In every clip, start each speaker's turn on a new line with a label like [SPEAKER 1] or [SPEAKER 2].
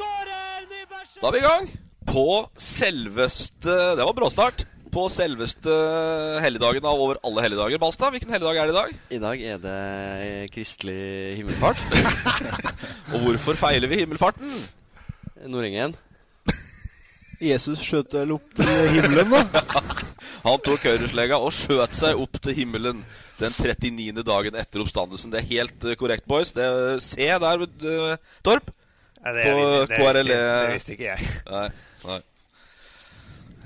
[SPEAKER 1] Da er vi i gang på selveste Det var bråstart. På selveste helligdagen av over alle helligdager. Balstad, hvilken helligdag er det i dag?
[SPEAKER 2] I dag er det kristelig himmelfart.
[SPEAKER 1] Og hvorfor feiler vi himmelfarten?
[SPEAKER 2] Nordengen.
[SPEAKER 3] Jesus skjøt vel opp i himmelen, da?
[SPEAKER 1] Han tok høyreslega og skjøt seg opp til himmelen den 39. dagen etter oppstandelsen. Det er helt eh, korrekt, boys. Det, se der, eh, Torp.
[SPEAKER 2] det
[SPEAKER 1] på KRLE.
[SPEAKER 2] ikke jeg.
[SPEAKER 1] Nei, nei.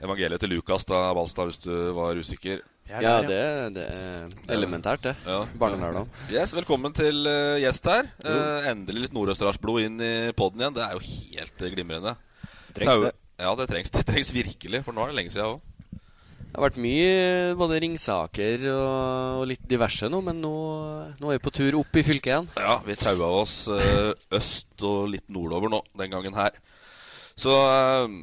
[SPEAKER 1] Evangeliet til Lukas da, Balstad, hvis du var usikker.
[SPEAKER 2] Ja, det, det er elementært, det.
[SPEAKER 1] Ja.
[SPEAKER 2] Barnelærdom.
[SPEAKER 1] Yes, Velkommen til eh, gjest her. Eh, endelig litt Nordøsterdalsblod inn i poden igjen. Det er jo helt eh, glimrende.
[SPEAKER 3] Trengs det.
[SPEAKER 1] Ja, det trengs, det trengs virkelig. For nå er det lenge siden òg.
[SPEAKER 2] Det har vært mye både ringsaker og, og litt diverse nå, men nå, nå er vi på tur opp i fylket igjen.
[SPEAKER 1] Ja, vi taua oss eh, øst og litt nordover nå, den gangen her. Så eh,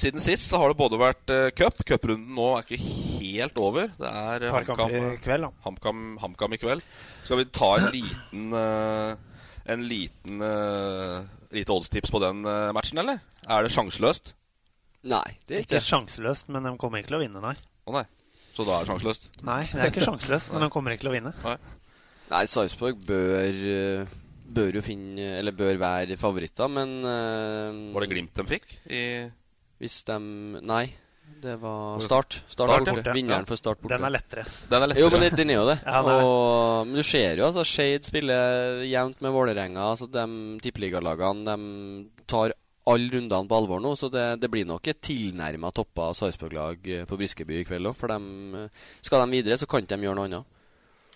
[SPEAKER 1] siden sist så har det både vært eh, cup. Cuprunden nå er ikke helt over. Det er eh, HamKam
[SPEAKER 3] kveld, da.
[SPEAKER 1] HamKam HamKam i kveld. Skal vi ta en liten eh, En liten eh, lite oddstips på den eh, matchen, eller? Er det sjanseløst?
[SPEAKER 2] Nei, det er ikke
[SPEAKER 3] sjanseløst, men de kommer ikke til å vinne, nei.
[SPEAKER 1] Å nei. Så da er det sjanseløst.
[SPEAKER 3] Nei, det er ikke sjanseløst, men de kommer ikke til å vinne.
[SPEAKER 2] Nei, Sarpsborg bør eh, Bør jo finne Eller bør være favoritter, men eh,
[SPEAKER 1] Var det Glimt de fikk? I
[SPEAKER 2] Hvis de Nei, det var Start. Start,
[SPEAKER 1] Start, ja.
[SPEAKER 2] borte. Vinneren for Start borte.
[SPEAKER 3] Den er lettere.
[SPEAKER 1] Den er
[SPEAKER 2] Jo,
[SPEAKER 1] lettere.
[SPEAKER 2] men det- den er jo det.
[SPEAKER 3] Ja, den er det.
[SPEAKER 2] og, men du ser jo altså Shade spiller jevnt med Vålerenga. Altså, de tippeligalagene de tar alle rundene på alvor nå, så det, det blir nok et tilnærma toppa Sarpsborg-lag eh, på Briskeby i kveld òg. For dem, eh, skal de videre, så kan ikke de gjøre noe annet.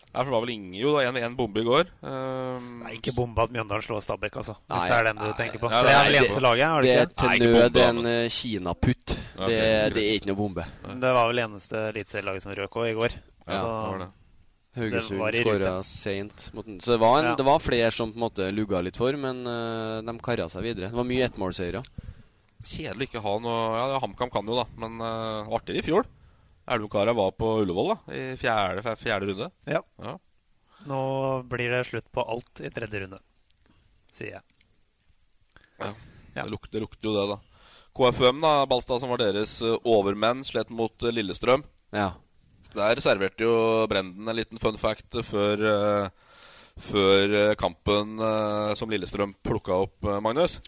[SPEAKER 1] Ja, for det var vel ingen Jo, da, én bombe i går. Um,
[SPEAKER 3] Nei, ikke bombe at Mjøndalen slår Stabæk, altså. Hvis
[SPEAKER 2] Nei,
[SPEAKER 3] det er den du
[SPEAKER 2] nei,
[SPEAKER 3] tenker på.
[SPEAKER 1] ja,
[SPEAKER 3] det er
[SPEAKER 1] nei,
[SPEAKER 3] vel
[SPEAKER 1] det-
[SPEAKER 3] eneste laget, er
[SPEAKER 2] Det
[SPEAKER 3] det
[SPEAKER 2] er
[SPEAKER 3] ikke?
[SPEAKER 2] til
[SPEAKER 1] Nei, ikke bombe,
[SPEAKER 2] nød
[SPEAKER 1] da,
[SPEAKER 2] en eh, kinaputt.
[SPEAKER 1] Ja,
[SPEAKER 2] det,
[SPEAKER 1] ok, greit.
[SPEAKER 2] det er ikke noe bombe.
[SPEAKER 3] Det var vel eneste eliteserielaget som røk òg i går.
[SPEAKER 1] ja,
[SPEAKER 3] Så
[SPEAKER 1] det var det.
[SPEAKER 2] Haugesund
[SPEAKER 3] var i
[SPEAKER 2] skåra seint. mot den. Så det var, en,
[SPEAKER 3] Ja.
[SPEAKER 2] det var flere som på en måte lugga litt for, men eh, de kara seg videre. Det var mye ettmålseiere.
[SPEAKER 1] Kjedelig ikke ha noe Ja, ja, HamKam kan jo, da. Men uh, artigere i fjor. Elvekara var på Ullevål da i fjerde, fe- fjerde runde.
[SPEAKER 3] Ja.
[SPEAKER 1] Ja.
[SPEAKER 3] nå blir det slutt på alt i tredje runde, sier jeg. Ja.
[SPEAKER 1] Det, lukter, det lukter jo det, da. KFUM, da, Balstad, som var deres eh, overmenn, slet mot eh, Lillestrøm.
[SPEAKER 2] Ja.
[SPEAKER 1] Der serverte jo Brenden en liten fun fact eh, før, eh, før eh, kampen eh, som Lillestrøm plukka opp, eh, Magnus.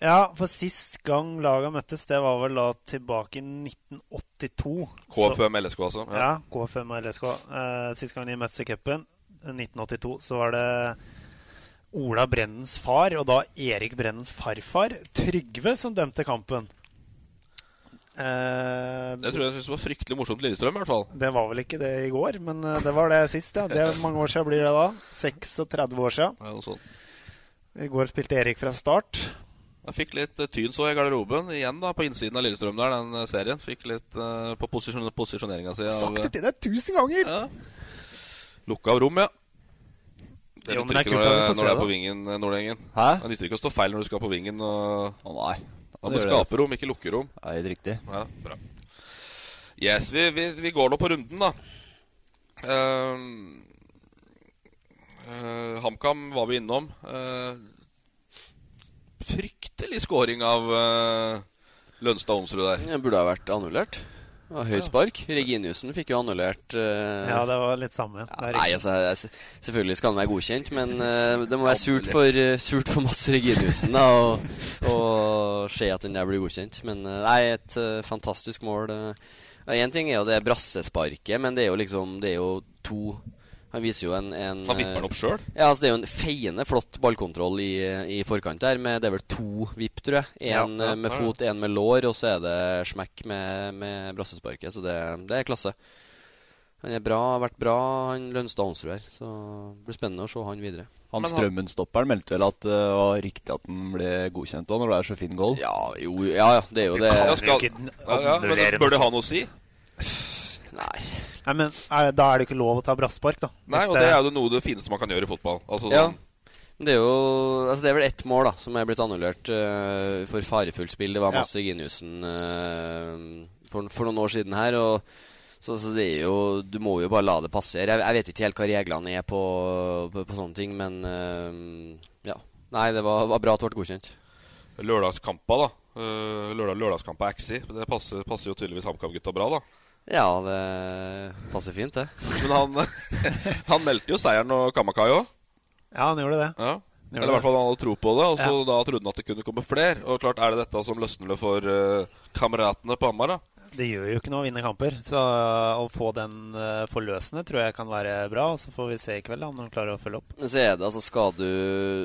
[SPEAKER 3] Ja, for sist gang laga møttes, det var vel da tilbake i 1982. Så-
[SPEAKER 1] KFUM LSK, altså.
[SPEAKER 3] Ja, K5 og LSK. Eh, sist gang de møttes i cupen, 1982, så var det Ola Brennens far, og da Erik Brennens farfar, Trygve, som dømte kampen. Eh,
[SPEAKER 1] Det tror jeg synes var fryktelig morsomt Lillestrøm, i hvert fall.
[SPEAKER 3] det var vel ikke det i går, men eh, det var det sist, ja. Det er mange år siden blir det da. 36 år siden.
[SPEAKER 1] Ja, noe sånt.
[SPEAKER 3] I går spilte Erik fra start.
[SPEAKER 1] Jeg fikk litt eh, tyn så jeg i garderoben igjen da, på innsiden av Lillestrøm der, den eh, serien. Fikk litt eh, på posisjon, posisjoneringa si. av,
[SPEAKER 3] Sagt
[SPEAKER 1] eh,
[SPEAKER 3] det til deg tusen ganger!
[SPEAKER 1] Ja. Lukka rom, ja. Det
[SPEAKER 3] Jo, men
[SPEAKER 1] nytter
[SPEAKER 3] det er kult
[SPEAKER 1] ikke når,
[SPEAKER 3] at vi får
[SPEAKER 1] det-
[SPEAKER 3] se
[SPEAKER 1] når det er
[SPEAKER 3] det.
[SPEAKER 1] på vingen, eh, Nordengen.
[SPEAKER 3] Hæ?
[SPEAKER 1] Det nytter ikke å stå feil når du skal på vingen. Og...
[SPEAKER 3] Å nei.
[SPEAKER 1] Man må skape rom, ikke lukke rom.
[SPEAKER 3] Helt riktig.
[SPEAKER 1] Ja, bra. Yes, vi, vi, vi går nå på runden, da. Ehm, eh, HamKam var vi innom. Eh, fryktelig scoring av eh, Lønstad Onsrud der.
[SPEAKER 2] Den burde ha vært annullert. Det var Høyt spark. Reginiussen fikk jo annullert eh,
[SPEAKER 3] Ja, det var litt samme. Det er
[SPEAKER 2] Nei,
[SPEAKER 3] riktig.
[SPEAKER 2] altså, jeg- jeg- Selvfølgelig skal han være godkjent, men eh, det må være surt for, eh, surt for Mads Reginiussen da, å, å se at den der blir godkjent. Men eh, nei, et eh, fantastisk mål. Én ting er jo det brassesparket, men det er jo liksom Det er jo to Han viser jo en, en
[SPEAKER 1] Han vipper den opp sjøl.
[SPEAKER 2] ja, altså Det er jo en feiende flott ballkontroll i, i forkant der. Med, det er vel to vipp, tror jeg. Én
[SPEAKER 1] Ja, ja,
[SPEAKER 2] med
[SPEAKER 1] ja, ja.
[SPEAKER 2] fot, én med lår, og så er det smekk med, med brassesparket. Så det, det er klasse. Han er bra, har vært bra, han Lønstad Honsrud her. Så det blir spennende å se han videre.
[SPEAKER 4] Han
[SPEAKER 1] Men han-
[SPEAKER 4] Strømmen-stopperen meldte vel at det var riktig at den ble godkjent òg, når det er så fin goal.
[SPEAKER 2] Ja, jo, ja, ja, det er jo det.
[SPEAKER 3] kan-
[SPEAKER 1] Ja, skal,
[SPEAKER 3] ikke den
[SPEAKER 1] ja, ja, men
[SPEAKER 3] annullerende
[SPEAKER 1] bør det ha noe å si?
[SPEAKER 2] Nei.
[SPEAKER 3] Nei, men er, Da er det ikke lov å ta brasspark, da.
[SPEAKER 1] Nei,
[SPEAKER 3] Hvis
[SPEAKER 1] og det er jo noe av det fineste man kan gjøre i fotball. Altså,
[SPEAKER 2] Ja.
[SPEAKER 1] sånn,
[SPEAKER 2] Men Det er jo Altså det er vel ett mål da som er blitt annullert eh, for farefullt spill. Det var
[SPEAKER 3] Ja.
[SPEAKER 2] Mads Reginiussen eh, for, for noen år siden her. Og så, så det er jo Du må jo bare la det passere. Jeg, jeg vet ikke helt hva reglene er på, på, på sånne ting, men eh, ja. Nei, det var, var bra at det ble godkjent.
[SPEAKER 1] Lørdagskampa, sånn da. Eh, lørdag, lørdagskampa Axi. Det passer, passer jo tydeligvis HamKam-gutta bra, da.
[SPEAKER 2] Ja, det passer fint, det.
[SPEAKER 1] Men han, han meldte jo seieren og Kamakai òg.
[SPEAKER 3] det- Ja, han gjorde det.
[SPEAKER 1] Ja.
[SPEAKER 3] Gjorde
[SPEAKER 1] Eller i hvert fall han hadde tro på det, og så
[SPEAKER 3] Ja.
[SPEAKER 1] da trodde han at det kunne komme flere. Og klart er det dette som løsner det for eh, kameratene på Hamar, da.
[SPEAKER 3] Det gjør jo ikke noe å vinne kamper. Så å få den eh, forløsende tror jeg kan være bra. Og så får vi se i kveld da, om de klarer å følge opp.
[SPEAKER 2] Men så er det, altså skal du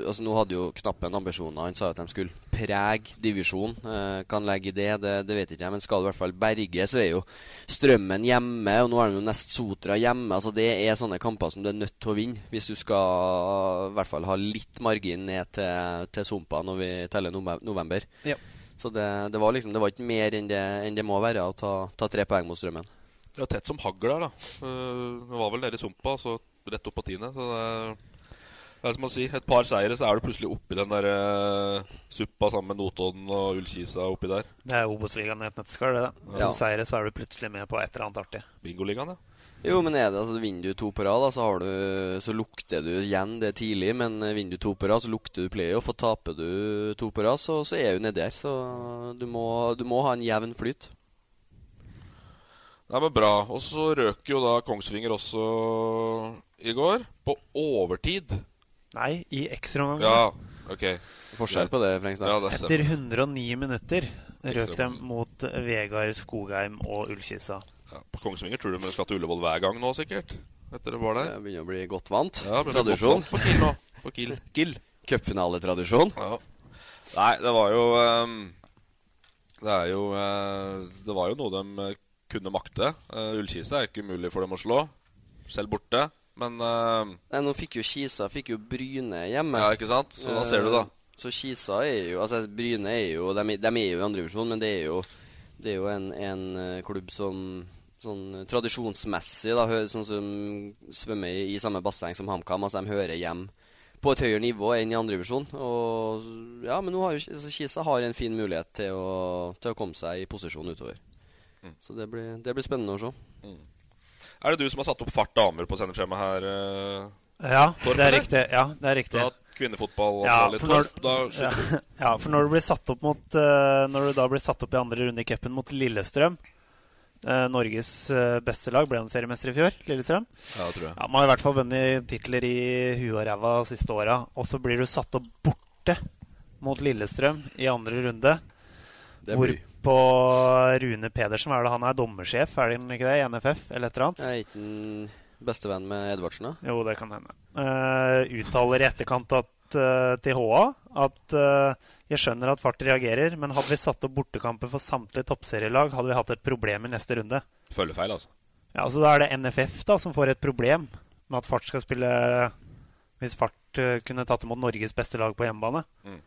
[SPEAKER 2] Altså Nå hadde jo Knappen ambisjoner. Han sa at de skulle prege divisjonen. Eh, kan legge i det, det, det vet ikke jeg. Men skal du i hvert fall berge, så er jo Strømmen hjemme. Og nå er det jo nest Sotra hjemme. Altså Det er sånne kamper som du er nødt til å vinne hvis du skal i hvert fall ha litt margin ned til, til sumpa når vi teller nove- november.
[SPEAKER 3] Ja.
[SPEAKER 2] Så det, det var liksom Det var ikke mer enn det, enn det må være å ta, ta tre poeng mot Strømmen.
[SPEAKER 1] Det var tett som hagl der, da. Eh, Det var vel nede i sumpa, så rett opp på tiende. Så det er, det er som å si, et par seire, så er du plutselig oppi den der eh, suppa sammen med Notodden og Ullkisa oppi der.
[SPEAKER 3] Det er Obos-ligaen i et nøtteskall. det da.
[SPEAKER 2] Ja.
[SPEAKER 3] To seire, så er du plutselig med på et eller annet artig.
[SPEAKER 1] Bingoligaen, ja.
[SPEAKER 2] Jo, men er det altså vinner du to på rad, da, så, har du, så lukter du igjen det tidlig. Men eh, vinner du to på rad, så lukter du playoff. Og taper du to på rad, så, så er du nedi her. Så du må, du må ha en jevn flyt.
[SPEAKER 1] Nei, men bra. Og så røk jo da Kongsvinger også i går. På overtid.
[SPEAKER 3] Nei, i ekstraomgangen.
[SPEAKER 1] Ja, OK.
[SPEAKER 2] Forskjell på det,
[SPEAKER 1] Ja,
[SPEAKER 2] Frank Stang.
[SPEAKER 1] det
[SPEAKER 3] Etter
[SPEAKER 1] stemmer.
[SPEAKER 3] 109 minutter røk
[SPEAKER 1] Ekstraomgang.
[SPEAKER 3] de mot Vegard Skogheim og Ullkisa.
[SPEAKER 1] Ja, på Kongsvinger tror du de skal til Ullevål hver gang nå, sikkert? Etter det var der?
[SPEAKER 2] Jeg begynner å bli godt vant.
[SPEAKER 1] Ja, men det er
[SPEAKER 2] Tradisjon.
[SPEAKER 1] godt valg På Kiel nå. På Kiel. Kiel.
[SPEAKER 2] Cupfinaletradisjon.
[SPEAKER 1] Ja. Nei, det var jo ehm, Det er jo eh, Det var jo noe de eh, kunne makte. Uh, Ullkisa er ikke umulig for dem å slå, selv borte. Men eh,
[SPEAKER 2] Nei, Nå fikk jo Kisa fikk jo Bryne hjemme.
[SPEAKER 1] Ja, ikke sant? Så da ser du,
[SPEAKER 3] Eh.
[SPEAKER 1] da.
[SPEAKER 2] Eh, Så Kisa er jo Altså, Bryne er jo De, de er jo i andrevisjon, men det er jo Det er jo en, en eh, klubb som Sånn eh, tradisjonsmessig, da, hø- sånn som svømmer i, i samme basseng som HamKam. Altså, de hører hjem på et høyere nivå enn i andrevisjon. Ja, men nå har jo Ki- altså, Kisa har en fin mulighet til å, til å komme seg i posisjon utover.
[SPEAKER 1] Mm.
[SPEAKER 2] Så det blir, det blir spennende å se.
[SPEAKER 1] Er det du som har satt opp fart damer på sendeskjemaet her? eh,
[SPEAKER 3] Ja,
[SPEAKER 1] Torp,
[SPEAKER 3] det er
[SPEAKER 1] eller?
[SPEAKER 3] riktig. Ja, det er riktig.
[SPEAKER 1] Da kvinnefotball
[SPEAKER 3] Ja,
[SPEAKER 1] altså, litt
[SPEAKER 3] for når-
[SPEAKER 1] tøft, da
[SPEAKER 3] Ja,
[SPEAKER 1] skjønner
[SPEAKER 3] ja, for når du blir satt opp mot eh, Når du da blir satt opp i andre runde i cupen mot Lillestrøm eh, Norges eh, beste lag ble de seriemester i fjor, Lillestrøm.
[SPEAKER 1] Ja, tror jeg.
[SPEAKER 3] Ja, Man har i hvert fall vunnet titler i huet og ræva de siste åra. Og så blir du satt opp borte mot Lillestrøm i andre runde.
[SPEAKER 2] Det blir
[SPEAKER 3] Hvorpå Rune Pedersen, hva er det han er dommersjef, er han ikke det, i NFF, eller et eller annet?
[SPEAKER 2] Jeg er ikke den beste venn med Edvardsen, da.
[SPEAKER 3] Jo, det kan hende. Eh, uttaler i etterkant at, eh, til HA at eh, jeg skjønner at Fart reagerer, men hadde vi satt opp bortekamper for samtlige toppserielag, hadde vi hatt et problem i neste runde.
[SPEAKER 1] Følgefeil, altså.
[SPEAKER 3] Ja, altså Da er det NFF da som får et problem med at Fart skal spille Hvis Fart eh, kunne tatt imot Norges beste lag på hjemmebane.
[SPEAKER 1] Mm.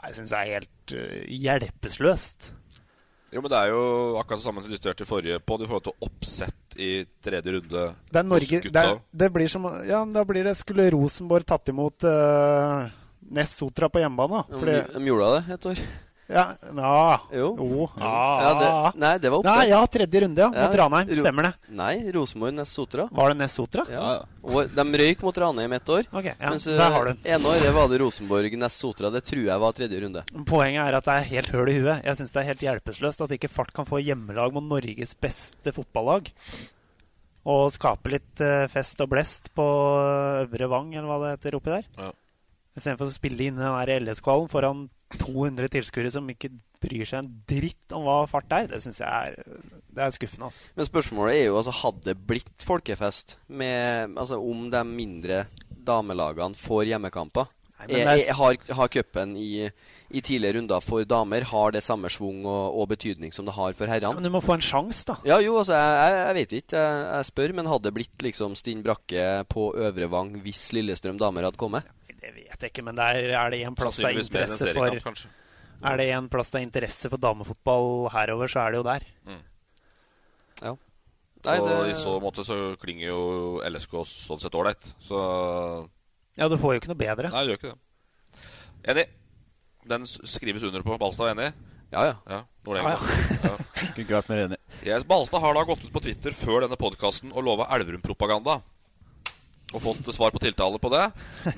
[SPEAKER 3] Nei, Jeg syns det er helt eh, hjelpeløst.
[SPEAKER 1] Jo, men Det er jo akkurat det samme som diskuterte i forrige pod i forhold til oppsett i tredje runde.
[SPEAKER 3] Det er Norge
[SPEAKER 1] Hos
[SPEAKER 3] det,
[SPEAKER 1] gutta.
[SPEAKER 3] er, det blir som Ja, men da blir det Skulle Rosenborg tatt imot uh, Ness eh, Sotra på hjemmebane? da?
[SPEAKER 2] De, de gjorde det et år.
[SPEAKER 3] Ja, ja.
[SPEAKER 2] Jo.
[SPEAKER 3] Ja. ah.
[SPEAKER 2] Ja, det, nei, det var opptak.
[SPEAKER 3] Nei, ja, tredje runde, ja. Mot Ranheim.
[SPEAKER 2] Ro-
[SPEAKER 3] Stemmer det.
[SPEAKER 2] Nei, Rosenborg Nest Sotra.
[SPEAKER 3] Var det Nest Sotra?
[SPEAKER 2] Ja. Og de røyk mot Ranheim ett år.
[SPEAKER 3] Ok, ja,
[SPEAKER 2] mens
[SPEAKER 3] der har du
[SPEAKER 2] eh, ene året var det Rosenborg Nest Sotra. Det tror jeg var tredje runde.
[SPEAKER 3] Poenget er at det er helt høl i huet. Jeg syns det er helt hjelpeløst at ikke Fart kan få hjemmelag mot Norges beste fotballag. Og skape litt eh, fest og blest på eh, Øvre Vang, eller hva det heter oppi der.
[SPEAKER 1] Ja.
[SPEAKER 3] Istedenfor å spille inn den der LS-kvalen foran 200 tilskuere som ikke bryr seg en dritt om hva fart er. Det syns jeg er, det er skuffende, altså.
[SPEAKER 2] Men spørsmålet er jo altså, hadde det blitt folkefest med, altså, om de mindre damelagene får hjemmekamper?
[SPEAKER 3] men
[SPEAKER 2] Er-
[SPEAKER 3] det er-
[SPEAKER 2] er- Har, har cupen i, i tidligere runder for damer har det samme svung og, og betydning som det har for herrene?
[SPEAKER 3] Men du må få en sjanse, da.
[SPEAKER 2] Ja, jo, altså, jeg, jeg, jeg vet ikke. Jeg, jeg spør. Men hadde det blitt liksom Stinn Brakke på Øvre Vang hvis Lillestrøm damer hadde kommet?
[SPEAKER 3] Det vet jeg ikke, men der er det en plass det er
[SPEAKER 1] Sannsynligvis mer enn
[SPEAKER 3] interesse
[SPEAKER 1] seriekamp,
[SPEAKER 3] for
[SPEAKER 1] kanskje.
[SPEAKER 3] Er det en plass det er interesse for damefotball herover, så er det jo der.
[SPEAKER 2] Ja.
[SPEAKER 1] og
[SPEAKER 3] Nei, det-
[SPEAKER 1] i så måte så klinger jo LSK sånn sett ålreit. Så
[SPEAKER 3] Ja, du får jo ikke noe bedre.
[SPEAKER 1] Nei, det gjør ikke det. Enig. Den s- skrives under på. Balstad er enig?
[SPEAKER 2] Ja, ja.
[SPEAKER 1] Nordenga. ja.
[SPEAKER 4] Kunne ikke vært mer enig.
[SPEAKER 1] Yes, Balstad har da gått ut på Twitter før denne podkasten og lova Elverum-propaganda. Og fått svar på tiltale på det.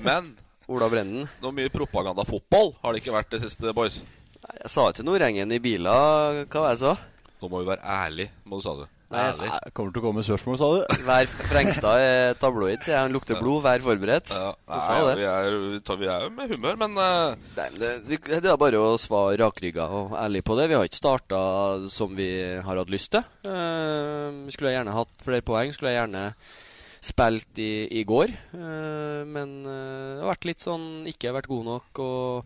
[SPEAKER 1] Men
[SPEAKER 2] Ola Brenden
[SPEAKER 1] noe mye propagandafotball har det ikke vært det siste, boys.
[SPEAKER 2] Jeg sa ikke Nordengen i biler, hva var det jeg sa?
[SPEAKER 1] Nå må vi være ærlig, må du sa du.
[SPEAKER 2] Nei, jeg-
[SPEAKER 1] Ærlig.
[SPEAKER 4] Kommer til å komme spørsmål, sa du?
[SPEAKER 2] Vær Frengstad er tabloid, sier jeg. Han lukter blod, vær forberedt.
[SPEAKER 1] Ja,
[SPEAKER 2] Du sa
[SPEAKER 1] nei,
[SPEAKER 2] det.
[SPEAKER 1] vi, er, vi, tar, vi er jo med humør, men eh,
[SPEAKER 2] Nei, men det, vi- det er bare å svare rakrygga og ærlig på det. Vi har ikke starta som vi har hatt lyst til. Eh, skulle jeg gjerne hatt flere poeng. Skulle jeg gjerne spilt i, i går. Eh, men eh, det har vært litt sånn ikke vært god nok og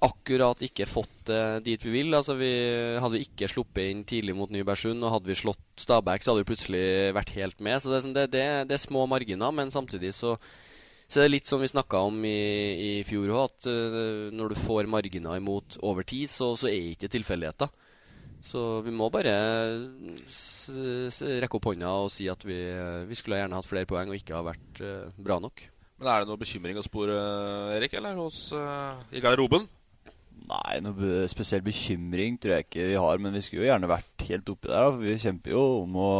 [SPEAKER 2] akkurat ikke fått det dit vi vil. Altså vi, Hadde vi ikke sluppet inn tidlig mot Nybergsund, og hadde vi slått Stabæk, så hadde vi plutselig vært helt med. Så det, er sånn- det, det, det er små marginer, men samtidig så så det er litt som vi snakka om i, i fjor òg, at eh, når du får marginer imot over tid, så, så er ikke det tilfeldigheter. Så vi må bare s s rekke opp hånda og si at vi, eh, vi skulle gjerne hatt flere poeng og ikke ha vært eh, bra nok.
[SPEAKER 1] men er det noe bekymring å spore, Erik, eller hos eh, i garderoben?
[SPEAKER 4] Nei, noe be- spesiell bekymring tror jeg ikke vi har, men vi skulle jo gjerne vært helt oppi der. Da. for Vi kjemper jo om å,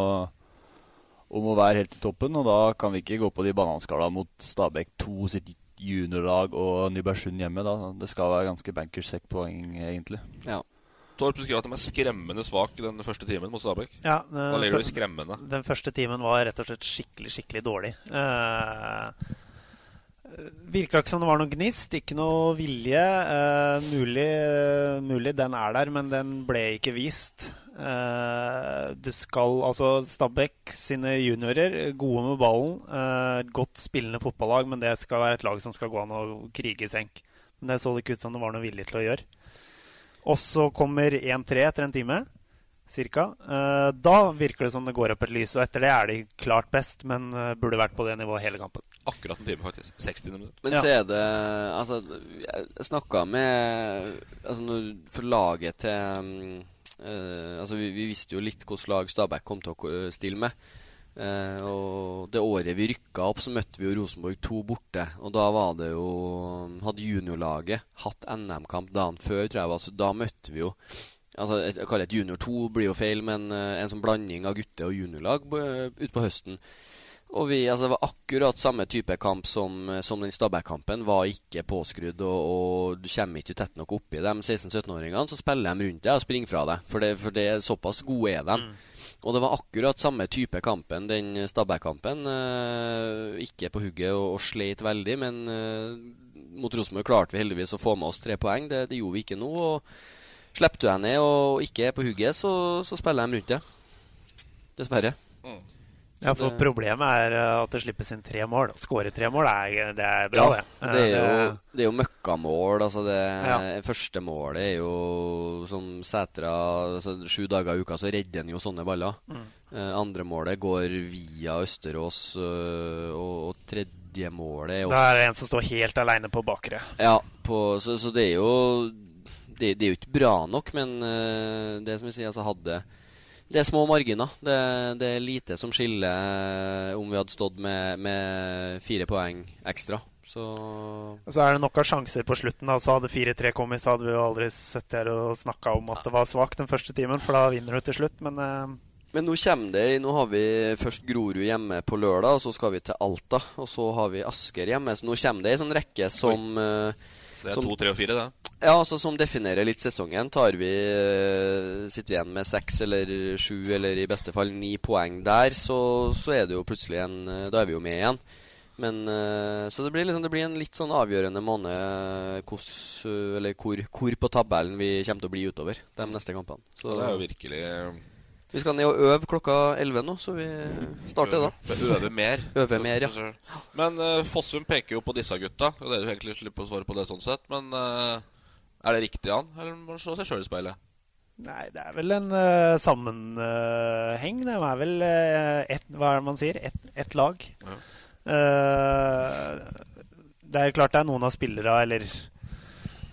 [SPEAKER 4] om å være helt i toppen, og da kan vi ikke gå på de bananskala mot Stabæk 2 sitt juniorlag og Nybergsund hjemme. da. Det skal være ganske bankers sekk-poeng, egentlig.
[SPEAKER 2] Ja.
[SPEAKER 1] Torp skriver at de er skremmende svak den første timen mot Stabæk.
[SPEAKER 3] Ja,
[SPEAKER 1] Da
[SPEAKER 3] eh, for-
[SPEAKER 1] ligger du i skremmende.
[SPEAKER 3] Den første timen var rett og slett skikkelig, skikkelig dårlig. Uh, virka ikke som det var noen gnist, ikke noe vilje. Eh, mulig, mulig den er der, men den ble ikke vist. Eh, du skal altså Stabæk sine juniorer, gode med ballen. eh, godt spillende fotballag, men det skal være et lag som skal gå an å krige i senk. Men det så det ikke ut som det var noe vilje til å gjøre. Og så kommer 1-3 etter en time cirka. Eh, da virker det som det går opp et lys, og etter det er de klart best, men eh, burde vært på det nivået hele kampen.
[SPEAKER 1] Akkurat en time, faktisk. 60 minutter.
[SPEAKER 2] Men så er det Altså, jeg snakka med Altså, når, for laget til um, eh, Altså, vi, vi visste jo litt hvordan lag Stabæk kom til å ko- stille med. Eh, og det året vi rykka opp, så møtte vi jo Rosenborg 2 borte. Og da var det jo Hadde juniorlaget hatt NM-kamp dagen før, tror jeg var, så da møtte vi jo Altså, et, jeg kaller det et junior 2 blir jo feil, men eh, en sånn blanding av gutte- og juniorlag eh, utpå høsten. Og vi, altså Det var akkurat samme type kamp som, eh, som den Stabæk-kampen. Var ikke påskrudd, og, og du kommer ikke tett nok oppi de 16-17-åringene. Så spiller de rundt deg og springer fra deg, for, det, for det er såpass gode er de. Og det var akkurat samme type kampen, den Stabæk-kampen. Eh, ikke på hugget og, og sleit veldig, men eh, mot Rosenborg klarte vi heldigvis å få med oss tre poeng. Det, det gjorde vi ikke nå. og Slipper du deg ned og ikke er på hugget, så, så spiller de rundt deg. Dessverre.
[SPEAKER 3] Ja,
[SPEAKER 2] Så
[SPEAKER 3] for
[SPEAKER 2] det-
[SPEAKER 3] Problemet er eh, at det slippes inn tre mål. Å skåre tre mål er, det er bra, det. Eh,
[SPEAKER 2] Det er jo, det er jo møkkamål. Altså det
[SPEAKER 3] Ja.
[SPEAKER 2] første målet er jo som Sætra altså Sju dager i uka så redder han jo sånne baller.
[SPEAKER 3] Mm.
[SPEAKER 2] Eh, andre målet går via Østerås, eh, og, og tredje målet
[SPEAKER 3] det
[SPEAKER 2] er også
[SPEAKER 3] er en som står helt aleine på bakre.
[SPEAKER 2] ja, på, så, så det er jo det, det er jo ikke bra nok, men eh, det som jeg sier, altså hadde Det er små marginer. Det, det er lite som skiller eh, om vi hadde stått med, med fire poeng ekstra. Så
[SPEAKER 3] Og Så er det nok av sjanser på slutten. da, så Hadde 4-3 kommet, så hadde vi jo aldri sittet her og snakka om at det var svakt den første timen, for da vinner du til slutt. Men eh,
[SPEAKER 2] Men nå kommer det Nå har vi først Grorud hjemme på lørdag, og så skal vi til Alta. Og så har vi Asker hjemme. Så nå kommer det ei sånn rekke som eh,
[SPEAKER 1] Det er
[SPEAKER 2] som-
[SPEAKER 1] to, tre og fire, det.
[SPEAKER 2] Ja, altså som definerer litt sesongen. Tar vi eh, Sitter vi igjen med seks eller sju, eller i beste fall ni poeng der, så, så er det jo plutselig en eh, Da er vi jo med igjen. Men eh, Så det blir liksom Det blir en litt sånn avgjørende måned eh, hvordan, eh, Eller hvor, hvor på tabellen vi kommer til å bli utover de neste kampene.
[SPEAKER 1] Så det er jo virkelig
[SPEAKER 2] Vi skal ned og øve klokka 11 nå, så vi starter da.
[SPEAKER 1] Øve- øve mer.
[SPEAKER 2] Øve mer, ja.
[SPEAKER 1] Men eh, Fossum peker jo på disse gutta, og det er jo egentlig slipper å svare på det sånn sett. Men eh, er det riktig, han? Eller må han slå seg sjøl i speilet?
[SPEAKER 3] Nei, det er vel en eh, sammenheng. Det er vel eh, ett Hva er det man sier? Ett ett lag.
[SPEAKER 1] Ja.
[SPEAKER 3] Eh, det er jo klart det er noen av spillere, eller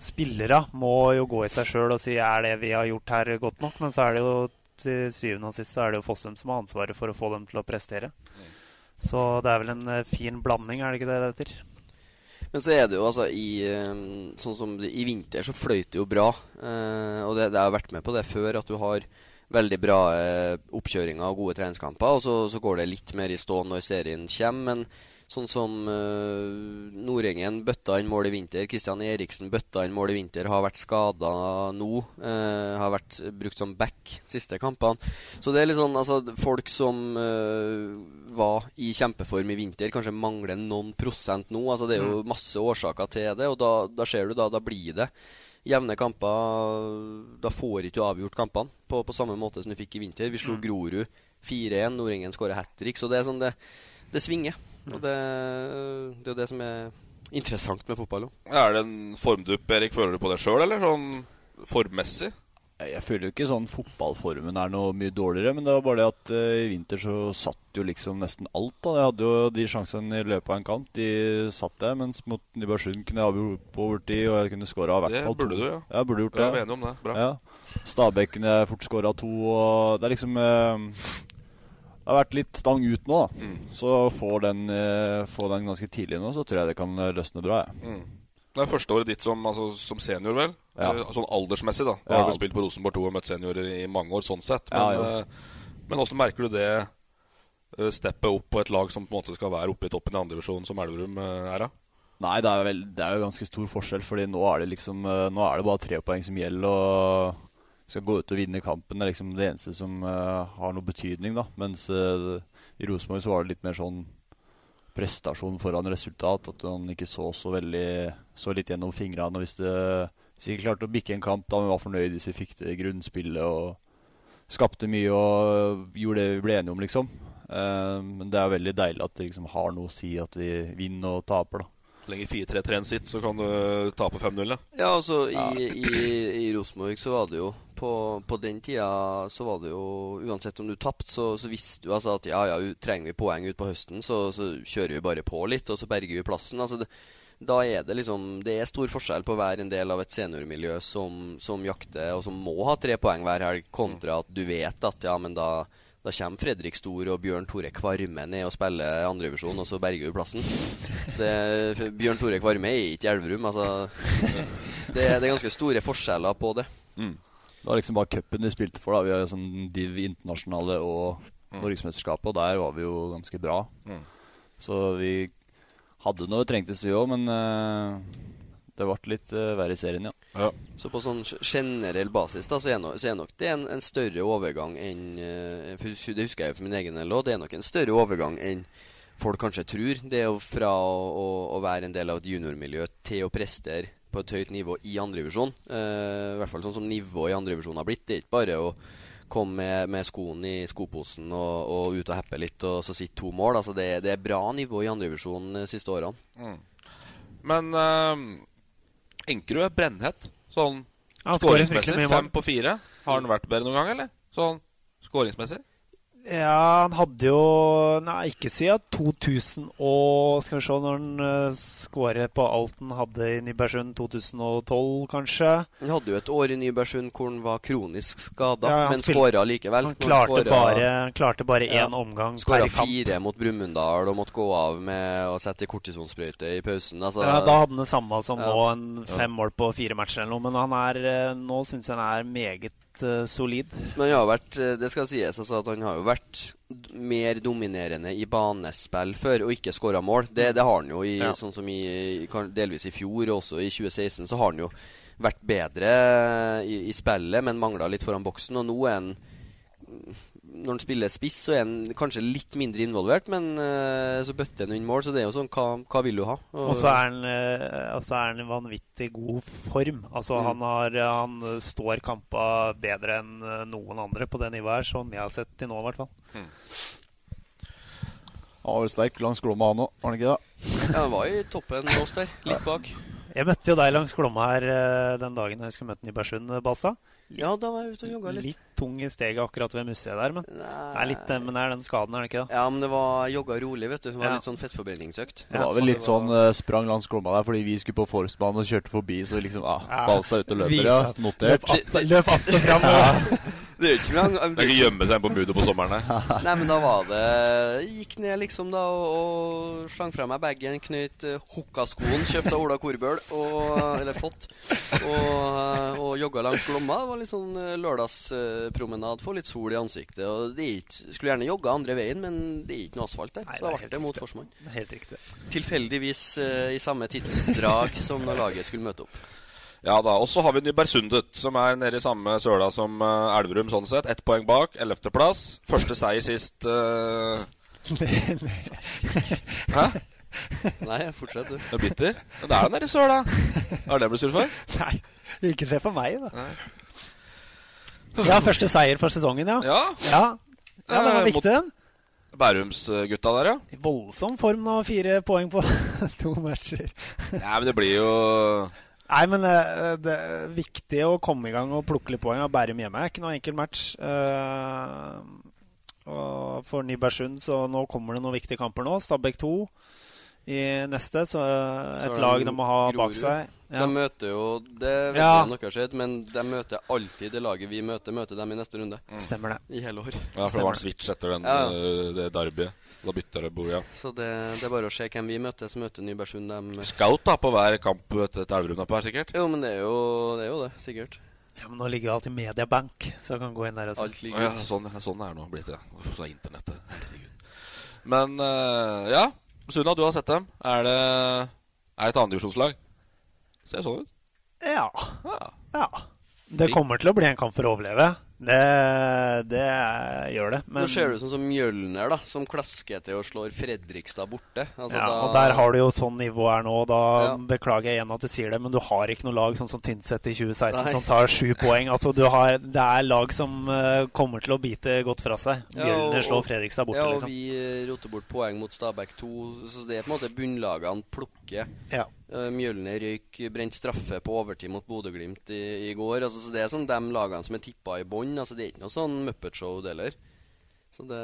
[SPEAKER 3] Spillere må jo gå i seg sjøl og si er det vi har gjort her, godt nok? Men så er det jo til syvende og sist så er det jo Fossum som har ansvaret for å få dem til å prestere. Så det er vel en eh, fin blanding, er det ikke det det heter?
[SPEAKER 2] Men så er det jo altså i eh, Sånn som det- i vinter så fløyt det jo bra. Eh, og det, det har jeg vært med på det før, at du har veldig bra eh, oppkjøringer og gode treningskamper. Og så, så går det litt mer i stå når serien kommer. Men sånn som eh, Nordengen bøtta inn mål i vinter, Kristian Eriksen bøtta inn mål i vinter, har vært skada nå. eh, har vært brukt som back siste kampene. Så det er litt sånn altså folk som eh, var i kjempeform i vinter, kanskje mangler noen prosent nå. altså Det er jo
[SPEAKER 3] Mm.
[SPEAKER 2] masse årsaker til det, og da, da ser du da, da blir det jevne kamper. Da får ikke du avgjort kampene på, på samme måte som du fikk i vinter. Vi slo Grorud 4-1, Nordengen skåra hat trick, så det er sånn det, det svinger. Og det, det er jo det som er interessant med fotball òg.
[SPEAKER 1] Er det en formdupp, Erik? Føler du på det sjøl, eller sånn formmessig?
[SPEAKER 4] Jeg føler jo ikke sånn fotballformen er noe mye dårligere, men det var bare det at eh, i vinter så satt jo liksom nesten alt. da. Jeg hadde jo de sjansene i løpet av en kamp, de satt jeg, mens mot Nybergsund kunne jeg avgjort på overtid, og jeg kunne skåra i hvert
[SPEAKER 1] Det
[SPEAKER 4] fall
[SPEAKER 1] burde
[SPEAKER 4] to.
[SPEAKER 1] du, ja.
[SPEAKER 4] Jeg burde gjort
[SPEAKER 1] Ja,
[SPEAKER 4] det.
[SPEAKER 1] vi er enige om det. Bra.
[SPEAKER 4] Ja. Stabæk kunne jeg fort skåra to, og det er liksom eh, Det har vært litt stang ut nå, da.
[SPEAKER 1] Mm.
[SPEAKER 4] Så får den, eh, får den ganske tidlig nå, så tror jeg det kan løsne bra, jeg.
[SPEAKER 1] Mm. Det er første året ditt som, altså, som senior, vel?
[SPEAKER 4] Ja.
[SPEAKER 1] Eh, Sånn aldersmessig, da. Du
[SPEAKER 4] Ja.
[SPEAKER 1] har vel spilt på Rosenborg 2 og møtt seniorer i mange år, sånn sett.
[SPEAKER 4] Ja,
[SPEAKER 1] Men,
[SPEAKER 4] jo.
[SPEAKER 1] eh, men hvordan merker du det eh, steppet opp på et lag som på en måte skal være oppe i toppen i andredivisjon, som Elverum eh, er, da?
[SPEAKER 4] Nei, det er, vel, det er jo ganske stor forskjell, Fordi nå er det liksom eh, Nå er det bare tre poeng som gjelder, og vi skal gå ut og vinne kampen. Det er liksom det eneste som eh, har noe betydning, da. Mens eh, i Rosenborg så var det litt mer sånn prestasjon foran resultat. At man ikke så så veldig Så litt gjennom fingrene. Og hvis, det, hvis vi ikke klarte å bikke en kamp, da var vi var fornøyd hvis vi fikk det grunnspillet og skapte mye og gjorde det vi ble enige om, liksom. Eh, Men det er veldig deilig at det liksom har noe å si at vi vinner og taper, da.
[SPEAKER 1] Så lenge 4-3-3-en sitt, så kan du eh, tape 5-0, ja.
[SPEAKER 2] Ja, altså i, i, i Rosenborg så var det jo på, på den tida så var det jo Uansett om du tapte, så, så visste du altså at ja, ja, u- trenger vi poeng utpå høsten, så, så kjører vi bare på litt, og så berger vi plassen. Altså det, da er det liksom Det er stor forskjell på å være en del av et seniormiljø som, som jakter, og som må ha tre poeng hver helg, kontra at du vet at ja, men da da kommer Fredrik Stor og Bjørn Tore Kvarme ned og spiller andrevisjon, og så berger vi plassen. Det, Bjørn Tore Kvarme er ikke i Elverum, altså. Det, det er ganske store forskjeller på det.
[SPEAKER 4] Det var liksom bare cupen de spilte for. da Vi har jo sånn Div internasjonale og
[SPEAKER 2] Mm.
[SPEAKER 4] Norgesmesterskapet, og der var vi jo ganske bra.
[SPEAKER 1] Mm.
[SPEAKER 4] Så vi hadde noe det trengtes, vi òg, men eh, det ble litt eh, verre i serien, ja.
[SPEAKER 2] Så på sånn g- generell basis da, så er, no, så er nok det en, en større overgang enn eh, for hus- Det husker jeg jo for min egen del òg. Det er nok en større overgang enn folk kanskje tror. Det er jo fra å, å, å være en del av et juniormiljø til å prestere på et høyt nivå i andredivisjon. Uh, I hvert fall sånn som nivået i andredivisjon har blitt. Det er ikke bare å komme med, med skoen i skoposen og, og ut og heppe litt, og så sitte to mål. Altså det, det er bra nivå i andredivisjon de siste årene.
[SPEAKER 1] Mm. Men eh, Enkerud er brennhett. Sånn
[SPEAKER 3] Ja, han skårer virkelig
[SPEAKER 1] skåringsmessig.
[SPEAKER 3] mye mål.
[SPEAKER 1] Fem på fire. Har han vært bedre noen gang, eller? Sånn skåringsmessig?
[SPEAKER 3] Ja, han hadde jo Nei, ikke siden 2000 og Skal vi se når han eh, skåret på alt han hadde i Nybergsund 2012, kanskje.
[SPEAKER 2] Han hadde jo et år i Nybergsund hvor han var kronisk skada,
[SPEAKER 3] Ja, han
[SPEAKER 2] men
[SPEAKER 3] spilte-
[SPEAKER 2] skåra likevel.
[SPEAKER 3] han
[SPEAKER 2] Når
[SPEAKER 3] klarte
[SPEAKER 2] skåret-
[SPEAKER 3] bare- han klarte bare én omgang per
[SPEAKER 2] Skåra
[SPEAKER 3] kamp.
[SPEAKER 2] fire mot Brumunddal og måtte gå av med å sette kortisonsprøyte i pausen. Altså,
[SPEAKER 3] ja, da hadde han det samme som
[SPEAKER 2] Ja.
[SPEAKER 3] nå, en fem mål på fire matcher eller noe. Men han er, eh, nå syns jeg han er meget eh, solid.
[SPEAKER 2] Men han har jo vært, eh, det skal sies altså at han har jo vært d- mer dominerende i banespill før, og ikke skåra mål. Det, det har han jo, i,
[SPEAKER 3] Ja.
[SPEAKER 2] sånn som i, i kan- delvis i fjor, og også i 2016, så har han jo vært bedre eh, i, i spillet, men mangla litt foran boksen. Og nå er han Når han spiller spiss, så er han kanskje litt mindre involvert, men eh, så bøtter han inn mål, så det er jo sånn Hva, hva vil du ha?
[SPEAKER 3] Og så er han, eh, altså er han i vanvittig god form. Altså
[SPEAKER 2] Mm.
[SPEAKER 3] han, har, han står kampa bedre enn eh, noen andre på det nivået her, som jeg har sett til nå i hvert fall.
[SPEAKER 4] Han var jo sterk langs glomma, han òg, var han ikke det?
[SPEAKER 2] Ja, han var i toppen oss der, litt bak.
[SPEAKER 3] Jeg møtte jo deg langs Glomma her eh, den dagen jeg skulle møte den i Bersund, Balsa.
[SPEAKER 2] Ja, da var jeg ute og jogga litt.
[SPEAKER 3] Litt tung i steget akkurat ved museet der, men det er litt eh, men det er den skaden, er det ikke det?
[SPEAKER 2] Ja, men det var jogga rolig, vet du. Det var
[SPEAKER 3] Ja.
[SPEAKER 2] litt sånn fettforbrenningsøkt.
[SPEAKER 4] Det var vel litt sånn eh, sprang langs klomma der fordi vi skulle på Forstbanen og kjørte forbi, så liksom ah,
[SPEAKER 2] Ja.
[SPEAKER 4] Balstad er ute og
[SPEAKER 2] Vise.
[SPEAKER 4] løper, ja. Notert.
[SPEAKER 2] Løp att- løp att og fram, ja. Det er jo ikke
[SPEAKER 4] eh,
[SPEAKER 2] mye han-
[SPEAKER 1] Det er ikke gjemme seg på Mudo på sommeren, nei.
[SPEAKER 2] Nei, men da var det jeg Gikk ned liksom da og, og slang fra meg bagen, knøt eh, hokkaskoen kjøpt av Ola Korbøl, og, eh, eller fått, og, eh, og jogga langs Glomma. Det var litt sånn eh, lørdagspromenad, få litt sol i ansiktet. Og det er ikke, skulle gjerne jogga andre veien, men det er ikke noe asfalt der. så da ble det mot Forsmann.
[SPEAKER 3] Helt riktig.
[SPEAKER 2] Tilfeldigvis eh, i samme tidsdrag som når laget skulle møte opp.
[SPEAKER 1] Ja da, Og så har vi Nybergsundet, som er nede i samme søla som eh, Elverum. sånn sett Ett poeng bak, ellevteplass. Første seier sist eh, Hæ?
[SPEAKER 2] Nei, fortsett, du.
[SPEAKER 1] Er du bitter? Ja, det er den nede i søla. Hva er det jeg blir sur for?
[SPEAKER 3] Nei, ikke se på meg, da. Ja, første seier for sesongen, ja.
[SPEAKER 1] Ja,
[SPEAKER 3] ja. ja det var
[SPEAKER 1] Eh,
[SPEAKER 3] viktig. den.
[SPEAKER 1] Bærumsgutta der, ja.
[SPEAKER 3] I voldsom form nå, fire poeng på to matcher.
[SPEAKER 1] Nei, men det blir jo
[SPEAKER 3] Nei, men eh, det er viktig å komme i gang og plukke litt poeng. Og Bærum hjemme er ikke noe enkel match. Eh, og for Nybergsund, så nå kommer det noen viktige kamper nå. Stabæk 2 i neste. Så eh,
[SPEAKER 2] Så er
[SPEAKER 3] et
[SPEAKER 2] det
[SPEAKER 3] lag de må ha bak
[SPEAKER 2] Grorud.
[SPEAKER 3] seg.
[SPEAKER 2] De møter jo Det vet
[SPEAKER 3] Ja.
[SPEAKER 2] jeg om dere har sett, men de møter alltid det laget vi møter, møter dem i neste runde.
[SPEAKER 3] Mm. Stemmer det.
[SPEAKER 2] I hele år.
[SPEAKER 1] Ja, for det var en switch etter den,
[SPEAKER 2] Ja.
[SPEAKER 1] eh, det derbyet. Da bytta det bord, ja.
[SPEAKER 2] Så det, det er bare å se hvem vi møter, så møter Nybergsund dem
[SPEAKER 1] Scout da på hver kamp etter et Elverum-napp her, sikkert.
[SPEAKER 2] Jo, men det er jo det, er jo det sikkert.
[SPEAKER 3] Ja, men nå ligger jo alt i Mediabank, så jeg kan gå inn der og se.
[SPEAKER 2] Alt ligger
[SPEAKER 1] Å Ja, sånn, sånn er det nå blitt, ja. Uff, Så er internettet. Herregud. Men eh, ja, Sunna, du har sett dem. Er det, er det et andredivisjonslag? Ser sånn ut.
[SPEAKER 3] Ja. ja. Det
[SPEAKER 1] Fint.
[SPEAKER 3] kommer til å bli en kamp for å overleve. Det, det eh, gjør det.
[SPEAKER 2] Nå ser det ut sånn som Mjølner, da, som klasker til og slår Fredrikstad borte. Altså,
[SPEAKER 3] ja,
[SPEAKER 2] da-
[SPEAKER 3] og der har du jo sånn nivå her nå. Da beklager jeg igjen at jeg sier det, men du har ikke noe lag sånn som Tynset i 2016
[SPEAKER 2] Nei.
[SPEAKER 3] som tar sju poeng. Altså, du har, det er lag som eh, kommer til å bite godt fra seg. Bjørner slår Fredrikstad borte,
[SPEAKER 2] ja, og
[SPEAKER 3] liksom.
[SPEAKER 2] vi eh, roter bort poeng mot Stabæk 2. Så det er på en måte bunnlagene plukker.
[SPEAKER 3] Ja.
[SPEAKER 2] Eh, Mjølner røyk brent straffe på overtid mot Bodø-Glimt i, i går. Altså, så det er sånn de lagene som er tippa i bånn. Altså, det er ikke noe sånn Muppet-show det heller. Så det,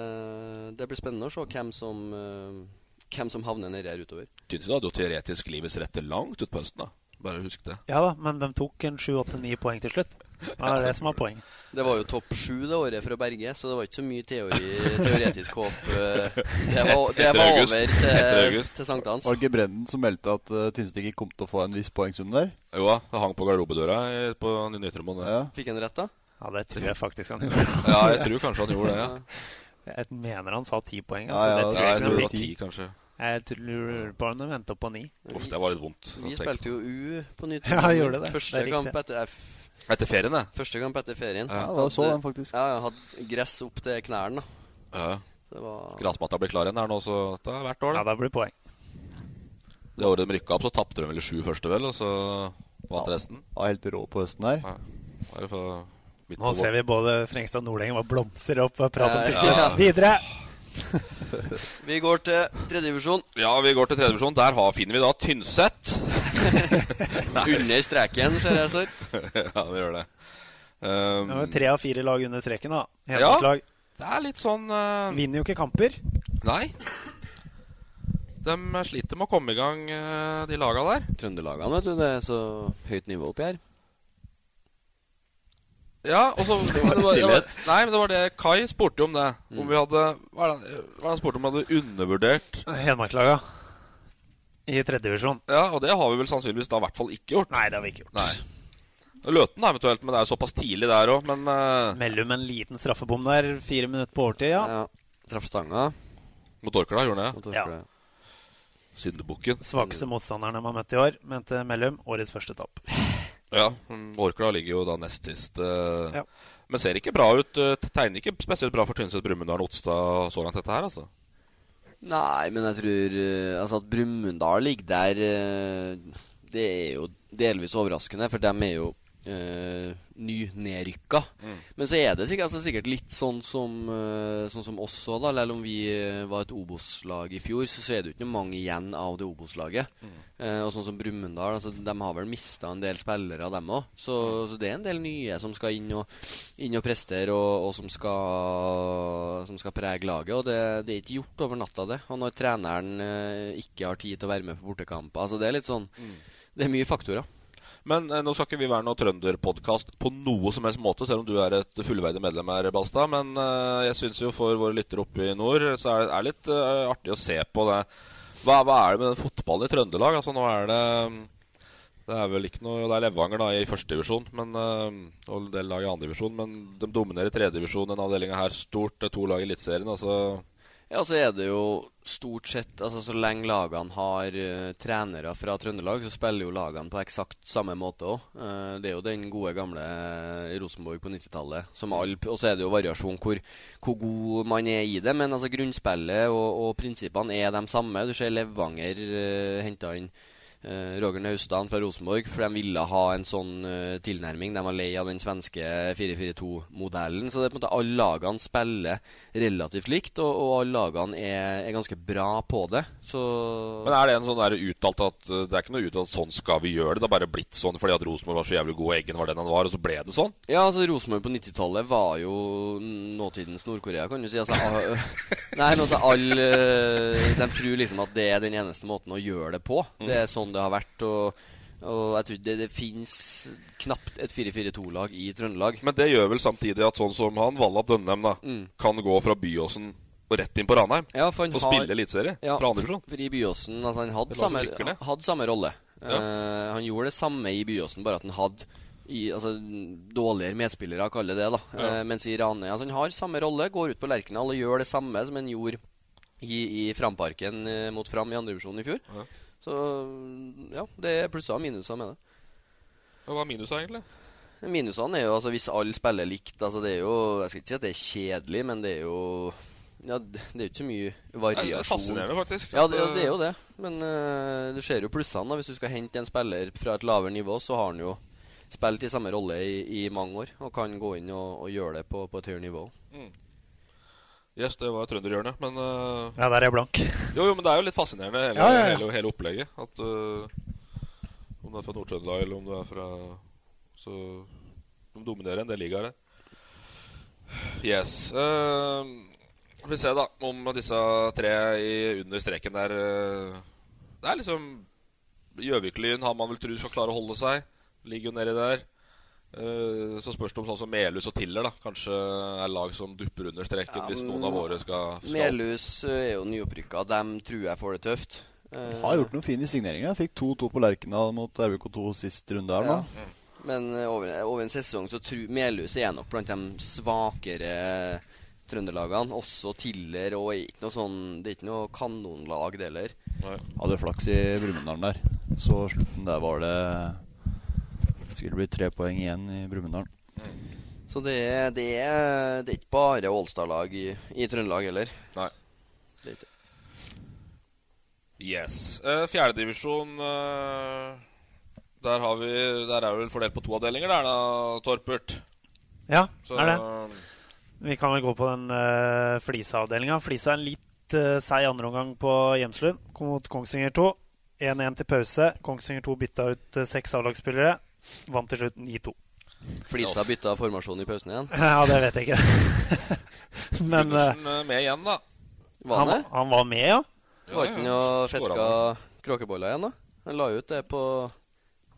[SPEAKER 2] det blir spennende å se hvem som, eh, hvem som havner nedi her utover.
[SPEAKER 1] Tynset hadde jo teoretisk livets rette langt ut på høsten, da. Bare husk det.
[SPEAKER 3] Ja da, men de tok en sju, åtte, ni poeng til slutt. Det er det som er poenget.
[SPEAKER 2] Det var jo topp sju det året fra Berge, så det var ikke så mye teori, teoretisk håp. eh. Det var, det
[SPEAKER 4] Etter
[SPEAKER 2] var
[SPEAKER 4] august.
[SPEAKER 2] over
[SPEAKER 4] Etter
[SPEAKER 2] til,
[SPEAKER 4] august.
[SPEAKER 2] til sankthans.
[SPEAKER 4] Var det ikke Brenden som meldte at uh, Tynset ikke kom til å få en viss poengsum der?
[SPEAKER 1] Jo da, det hang på garderobedøra i- på Nytromoen.
[SPEAKER 4] Ja.
[SPEAKER 2] Fikk han rett, da?
[SPEAKER 3] Ja, det tror jeg faktisk han gjorde.
[SPEAKER 1] Ja, jeg tror kanskje han gjorde det, ja.
[SPEAKER 3] Jeg mener han sa ti poeng.
[SPEAKER 1] Ja,
[SPEAKER 3] Altså,
[SPEAKER 1] ja,
[SPEAKER 3] det tror
[SPEAKER 1] ja,
[SPEAKER 3] jeg,
[SPEAKER 1] jeg
[SPEAKER 3] ikke
[SPEAKER 1] tror
[SPEAKER 3] han
[SPEAKER 1] det var
[SPEAKER 3] fikk.
[SPEAKER 1] ti, kanskje.
[SPEAKER 3] Jeg tror lurer på om han venta på ni.
[SPEAKER 1] Uff, det var litt vondt.
[SPEAKER 2] Vi
[SPEAKER 1] å tenke
[SPEAKER 2] spilte jo U på nytt.
[SPEAKER 3] Ja, gjorde det.
[SPEAKER 2] Første
[SPEAKER 3] Det er riktig.
[SPEAKER 2] kamp etter eh,
[SPEAKER 1] Etter ferien, det.
[SPEAKER 2] Første kamp etter ferien.
[SPEAKER 1] Ja,
[SPEAKER 4] det var så den faktisk.
[SPEAKER 2] Ja, jeg hadde gress opp til knærne. da.
[SPEAKER 1] Ja.
[SPEAKER 2] Det var-
[SPEAKER 1] Grasmatta blir klar igjen her nå, så det er hvert år.
[SPEAKER 3] Ja, det blir poeng.
[SPEAKER 1] Det året de rykka opp, så tapte de vel i sju første, vel, og så vant resten.
[SPEAKER 4] Var helt rå på høsten der.
[SPEAKER 1] Bare for
[SPEAKER 3] Nå ser vi både Frengstad og Nordengen var blomster opp og prat om
[SPEAKER 2] Ja,
[SPEAKER 3] Tynset.
[SPEAKER 2] ja.
[SPEAKER 3] Videre!
[SPEAKER 2] Vi går til tredjedivisjon.
[SPEAKER 1] Ja, vi går til tredjevisjon. Der har, finner vi da Tynset.
[SPEAKER 2] Under streken, ser jeg står.
[SPEAKER 1] ja, det gjør det.
[SPEAKER 3] Det
[SPEAKER 1] Um,
[SPEAKER 3] var tre av fire lag under streken, da.
[SPEAKER 1] ja,
[SPEAKER 3] Helselag.
[SPEAKER 1] Det er litt sånn eh,
[SPEAKER 3] Vinner jo ikke kamper.
[SPEAKER 1] Nei. De sliter med å komme i gang, eh, de laga der.
[SPEAKER 2] Trøndelagene, vet du. Det er så høyt nivå oppi her.
[SPEAKER 1] Ja, og så det var, Mm. det var, Nei, men det var det Kai spurte jo om det. Om vi hadde Hva er det hva er det han spurte om vi hadde undervurdert
[SPEAKER 3] Hedmarklaga i tredjedivisjon.
[SPEAKER 1] Ja, og det har vi vel sannsynligvis da i hvert fall ikke gjort.
[SPEAKER 3] Nei, det har vi ikke gjort.
[SPEAKER 1] Løten eventuelt, men det er jo såpass tidlig der òg. Men eh,
[SPEAKER 3] Mellum en liten straffebom der, fire minutter på overtid, ja.
[SPEAKER 2] Traff stanga.
[SPEAKER 1] Mot Orkla gjorde han
[SPEAKER 2] det?
[SPEAKER 3] Ja.
[SPEAKER 1] Syndebukken.
[SPEAKER 3] Svakeste motstanderen de har møtt i år, mente Mellum. Årets første tap.
[SPEAKER 1] Ja, mm, Orkla ligger jo da nest sist. eh,
[SPEAKER 3] Ja.
[SPEAKER 1] Men ser ikke bra ut. eh, Tegner ikke spesielt bra for Tynset, Brumunddal og Otstad så langt, dette her, altså.
[SPEAKER 2] Nei, men jeg tror eh, altså at Brumunddal ligger der eh, Det er jo delvis overraskende, for dem er jo eh, nynedrykka.
[SPEAKER 5] Mm.
[SPEAKER 2] Men så er det sikkert, altså, sikkert litt sånn som, eh, sånn som oss òg, da. Selv om vi eh, var et Obos-lag i fjor, så, så er det jo ikke noe mange igjen av det Obos-laget. Eh, og sånn som Brumunddal, altså, de har vel mista en del spillere, dem òg. Så, så det er en del nye som skal inn og, inn og prestere, og, og som, skal, som skal prege laget. Og det, det er ikke gjort over natta, det. Og når treneren eh, ikke har tid til å være med på bortekamper Altså, det er litt sånn Det er mye faktorer.
[SPEAKER 1] Men eh, nå skal ikke vi være noe trønderpodkast på noe som helst måte, selv om du er et fullverdig medlem her, Balstad. Men eh, jeg syns jo for våre lyttere oppe i nord, så er det er litt eh, artig å se på det. Hva, hva er det med den fotballen i Trøndelag? Altså, nå er det Det er vel ikke noe Det er Levanger, da, i førstedivisjon, men eh, og en del lag i andredivisjon. Men de dominerer tredjedivisjon, den avdelinga her stort. Det er to lag i Eliteserien, altså.
[SPEAKER 2] Ja, så er det jo stort sett Altså, så lenge lagene har eh, trenere fra Trøndelag, så spiller jo lagene på eksakt samme måte òg. det er jo den gode, gamle eh, Rosenborg på 90-tallet som alle Og så er det jo variasjon hvor, hvor god man er i det, men altså grunnspillet og, og prinsippene er de samme. Du ser Levanger uh, henta inn eh, Roger Naustdal fra Rosenborg, for de ville ha en sånn eh, tilnærming. De var lei av den svenske 4-4-2-modellen. Så det er på en måte alle lagene spiller relativt likt, og, og alle lagene er, er ganske bra på det. Så
[SPEAKER 1] Men er det en sånn der uttalt at eh, Det er ikke noe uttalt 'sånn skal vi gjøre det'. Det har bare blitt sånn fordi at Rosenborg var så jævlig god, og Eggen var den han var, og så ble det sånn?
[SPEAKER 2] Ja, altså Rosenborg på 90-tallet var jo nåtidens Nord-Korea, kan du si. Altså, a- nei, men altså all, eh, De tror liksom at det er den eneste måten å gjøre det på. Det er sånn det har vært. og... Og jeg tror det, det fins knapt et 4-4-2-lag i Trøndelag.
[SPEAKER 1] Men det gjør vel samtidig at sånn som han, Valla Dønnem, da,
[SPEAKER 2] Mm.
[SPEAKER 1] kan gå fra Byåsen og rett inn på Ranheim
[SPEAKER 2] Ja, for han
[SPEAKER 1] og
[SPEAKER 2] har-
[SPEAKER 1] spille eliteserie
[SPEAKER 2] Ja,
[SPEAKER 1] fra andre divisjon.
[SPEAKER 2] for i Byåsen altså Han hadde
[SPEAKER 1] Det var
[SPEAKER 2] samme,
[SPEAKER 1] som rykker ned.
[SPEAKER 2] hadde samme rolle.
[SPEAKER 1] Ja.
[SPEAKER 2] Eh, han gjorde det samme i Byåsen, bare at han hadde i, altså, dårligere medspillere, kall det det. da
[SPEAKER 1] Ja.
[SPEAKER 2] Eh, Mens i Ranheim altså, Han har samme rolle, går ut på Lerkendal og gjør det samme som han gjorde i, i Framparken eh, mot Fram i andredivisjon i fjor.
[SPEAKER 1] Ja.
[SPEAKER 2] Så ja, det er plusser og minuser med det.
[SPEAKER 1] Hva er minuset, egentlig?
[SPEAKER 2] Minusene er jo altså hvis alle spiller likt altså det er jo, Jeg skal ikke si at det er kjedelig, men det er jo ja, d- Det er jo ikke så mye variasjon.
[SPEAKER 1] Det er fascinerende, faktisk,
[SPEAKER 2] Ja,
[SPEAKER 1] at,
[SPEAKER 2] det, ja, det er jo
[SPEAKER 1] eh,
[SPEAKER 2] det. Men eh, du ser jo plussene. da Hvis du skal hente en spiller fra et lavere nivå, så har han jo spilt i samme rolle i, i mange år og kan gå inn og, og gjøre det på, på et høyere nivå.
[SPEAKER 1] eh, Yes, det var trønderhjørnet, men eh,
[SPEAKER 3] Ja, der er jeg blank.
[SPEAKER 1] Jo, jo, men det er jo litt fascinerende, hele,
[SPEAKER 3] Ja, ja, ja.
[SPEAKER 1] hele, hele opplegget. At eh, om du er fra Nord-Trøndelag, eller om du er fra Så de dominerer en del ligaer der. Yes. eh, vi ser da om disse tre i under streken der eh, Det er liksom Gjøvik-Lyn har man vel tru skal klare å holde seg. Ligger jo nedi der. Eh, så spørs det om sånn som Melhus og Tiller da kanskje er lag som dupper under streken
[SPEAKER 2] Ja,
[SPEAKER 1] hvis
[SPEAKER 2] men-
[SPEAKER 1] noen av våre skal, skal
[SPEAKER 2] Melhus eh, er jo nyopprykka. Dem tror jeg får det tøft. Eh,
[SPEAKER 4] Har gjort noen fine signeringer. Jeg Fikk 2-2 på Lerkendal mot RBK2 sist runde her nå.
[SPEAKER 2] Ja. Men eh, over, over en sesong så tror Melhus er nok blant de svakere trønderlagene. Også Tiller og er ikke noe sånn Det er ikke noe kanonlag, det heller.
[SPEAKER 4] Hadde flaks i Brumunddalen der. Så slutten der var det Skulle bli tre poeng igjen i Brumunddal.
[SPEAKER 2] Så det er, det er, det er ikke bare Ålstad-lag i, i Trøndelag heller.
[SPEAKER 1] Nei.
[SPEAKER 2] Det er ikke det.
[SPEAKER 1] Yes. Uh, Fjerdedivisjon eh, der, har vi, der er vi vel fordelt på to avdelinger, der da, Torpert.
[SPEAKER 3] Ja,
[SPEAKER 1] Så- eh,
[SPEAKER 3] er det. Vi kan vel gå på den uh, Flisa-avdelinga. Flisa er en litt uh, seig andreomgang på Hjemslund kom mot Kongsvinger 2. 1-1 til pause. Kongsvinger 2 bytta ut eh, seks A-lagsspillere. Vant til slutt 9-2.
[SPEAKER 2] Flisa bytta formasjon i pausen igjen.
[SPEAKER 3] Ja, det vet jeg ikke. Men eh,
[SPEAKER 1] Gundersen eh, med igjen, da.
[SPEAKER 2] Var han
[SPEAKER 3] han,
[SPEAKER 2] det?
[SPEAKER 3] han var med, ja?
[SPEAKER 2] Var ikke han og fiska
[SPEAKER 1] Skåra
[SPEAKER 2] kråkeboller igjen, da? Han la ut det på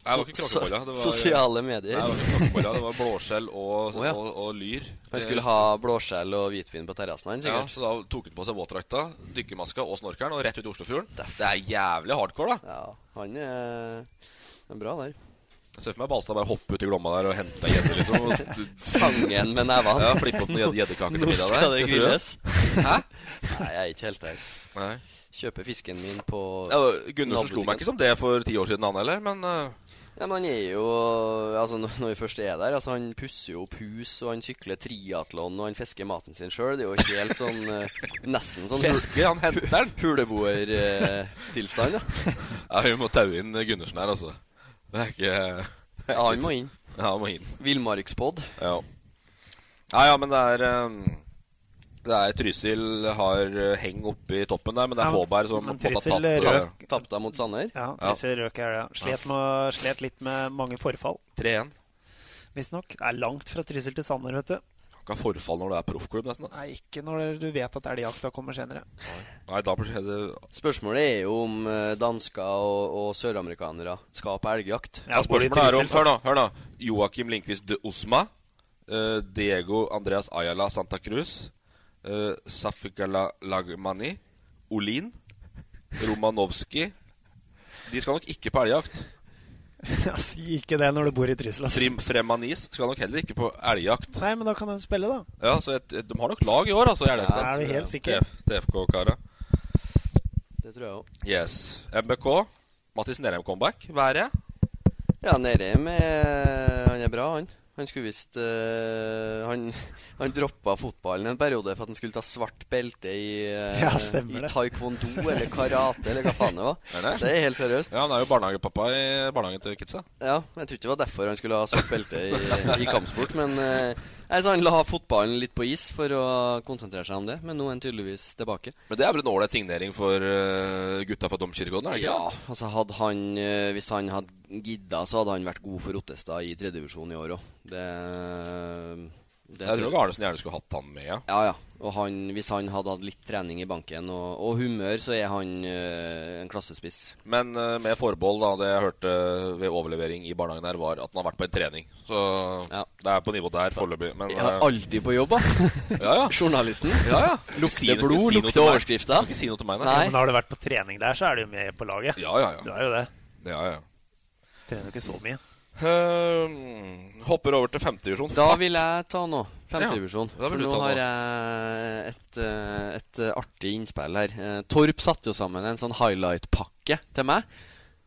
[SPEAKER 1] Nei, det var ikke
[SPEAKER 2] so-
[SPEAKER 1] kråkeboller. Det var, eh,
[SPEAKER 2] sosiale medier.
[SPEAKER 1] Nei, det var ikke kråkeboller, det var blåskjell og,
[SPEAKER 2] Å, ja.
[SPEAKER 1] og, og lyr.
[SPEAKER 2] Han skulle ha blåskjell og hvitvin på terrassen hans,
[SPEAKER 1] Ja,
[SPEAKER 2] sikkert.
[SPEAKER 1] så da tok han på seg våtdrakta, dykkermaska og snorkelen og rett ut i Oslofjorden. Det er jævlig hardcore, da.
[SPEAKER 2] Han er, er bra der.
[SPEAKER 1] Jeg ser for meg Balstad bare hoppe ut i Glomma der og hente ei gjedde, liksom. og du-
[SPEAKER 2] Fange en med nevene.
[SPEAKER 1] Ja, flippe opp noen gjed- gjeddekaker til
[SPEAKER 2] Nå
[SPEAKER 1] middag der.
[SPEAKER 2] skal
[SPEAKER 1] tror
[SPEAKER 2] det
[SPEAKER 1] jeg.
[SPEAKER 2] grilles.
[SPEAKER 1] Hæ?
[SPEAKER 2] Nei, jeg er ikke helt der.
[SPEAKER 1] Nei.
[SPEAKER 2] Kjøper fisken min på
[SPEAKER 1] Ja, Gundersen slo meg ikke som det for ti år siden, han heller, men eh,
[SPEAKER 2] Ja, men han er jo Altså, når når vi først er der Altså, han pusser jo opp hus, og han sykler triatlon, og han fisker maten sin sjøl. Det er jo helt sånn eh, Nesten sånn
[SPEAKER 1] Fiske, han henter den.
[SPEAKER 2] eh, Huleboertilstand, ja.
[SPEAKER 1] ja, vi må taue inn Gundersen her, altså. Det er ikke det er
[SPEAKER 2] Ja, han
[SPEAKER 1] ikke-
[SPEAKER 2] må inn.
[SPEAKER 1] Ja, han må inn.
[SPEAKER 2] Villmarkspod.
[SPEAKER 1] Ja. ja, ja, men det er eh, Det er Trysil har eh, heng oppe i toppen der, men det
[SPEAKER 3] Ja,
[SPEAKER 1] er Fåberg som
[SPEAKER 3] men
[SPEAKER 1] måtte ha
[SPEAKER 3] Trysil
[SPEAKER 1] tatt eh,
[SPEAKER 3] røk-
[SPEAKER 2] Tapte mot Sanner.
[SPEAKER 3] Ja,
[SPEAKER 1] Ja.
[SPEAKER 3] Trysil røk i helga. Slet, med- slet litt med mange forfall,
[SPEAKER 1] 3-1.
[SPEAKER 3] visstnok. Det er langt fra Trysil til Sanner, vet du.
[SPEAKER 1] Kan ikke ha forfall når det er proffklubb, nesten. da.
[SPEAKER 3] Nei, ikke når du vet at elgjakta kommer senere.
[SPEAKER 1] Nei, da blir det
[SPEAKER 2] Spørsmålet er jo om eh, dansker og, og søramerikanere skal på elgjakt.
[SPEAKER 1] ja, Spørsmålet er om Hør nå. hør nå Joakim Lindqvist de Osma. eh, Diego Andreas Ayala Santa Cruz. Uh, Safigala Lagmani. Olin. Romanovski. De skal nok ikke på elgjakt.
[SPEAKER 3] Ja, Si ikke det når du bor i Trysil. ass.
[SPEAKER 1] Frim Fremanis skal nok heller ikke på elgjakt.
[SPEAKER 3] Nei, men da kan du spille, da.
[SPEAKER 1] Ja, så et, et, De har nok lag i år, altså. i elgjakt.
[SPEAKER 3] Ja, er du helt sikker?
[SPEAKER 1] T- TFK-kara.
[SPEAKER 2] Det tror jeg òg.
[SPEAKER 1] Yes. MBK. Mattis Nerheim comeback. Været?
[SPEAKER 2] Ja, Nerheim er eh, Han er bra, han. Han skulle visst eh, Han, han droppa fotballen en periode for at han skulle ta svart belte i, eh,
[SPEAKER 3] Ja, stemmer
[SPEAKER 2] i
[SPEAKER 3] det.
[SPEAKER 2] taekwondo eller karate eller hva faen det var.
[SPEAKER 1] Er det?
[SPEAKER 2] Det er helt seriøst.
[SPEAKER 1] Ja, han er jo barnehagepappa i barnehagen til kidsa.
[SPEAKER 2] Ja, jeg tror ikke det var derfor han skulle ha svart belte i, i kampsport, men eh, altså, han la fotballen litt på is for å konsentrere seg om det, men nå er han tydeligvis tilbake.
[SPEAKER 1] Men det er vel en ålreit signering for eh, gutta fra Domkirkegården? er det ikke
[SPEAKER 2] Ja, altså hadde han eh, Hvis han hadde gidda, så hadde han vært god for Ottestad i tredjevisjon i år òg. Det, det
[SPEAKER 1] det? Jeg tror nok Arnesen gjerne skulle hatt han med, ja.
[SPEAKER 2] Ja, ja. Og han, hvis han hadde hatt litt trening i banken og, og humør, så er han eh, en klassespiss.
[SPEAKER 1] Men eh, med forbehold, da. Det jeg hørte eh, ved overlevering i barnehagen her, var at han har vært på en trening. Så
[SPEAKER 2] Ja.
[SPEAKER 1] det er på nivå der foreløpig. Men
[SPEAKER 2] Ja,
[SPEAKER 1] eh,
[SPEAKER 2] alltid på jobb, da.
[SPEAKER 1] ja, ja.
[SPEAKER 2] Journalisten.
[SPEAKER 1] ja, ja. Si
[SPEAKER 2] Lukter
[SPEAKER 1] noe-
[SPEAKER 2] blod,
[SPEAKER 1] si noe
[SPEAKER 2] lukter
[SPEAKER 1] til meg.
[SPEAKER 2] overskrifter.
[SPEAKER 1] Kan ikke si noe til meg,
[SPEAKER 2] Nei.
[SPEAKER 3] Men har du vært på trening der, så er du jo med på laget.
[SPEAKER 1] Ja, ja,
[SPEAKER 3] Du
[SPEAKER 1] ja.
[SPEAKER 3] er jo det.
[SPEAKER 1] ja, ja.
[SPEAKER 3] Trener jo ikke så mye.
[SPEAKER 1] Eh, hopper over til femtedivisjon.
[SPEAKER 2] Da vil jeg ta nå. Femtedivisjon.
[SPEAKER 1] Ja, da
[SPEAKER 2] For
[SPEAKER 1] vil du
[SPEAKER 2] nå
[SPEAKER 1] ta
[SPEAKER 2] har
[SPEAKER 1] nå.
[SPEAKER 2] jeg et, eh, et eh, artig innspill her. Eh, Torp satte jo sammen en sånn highlight-pakke til meg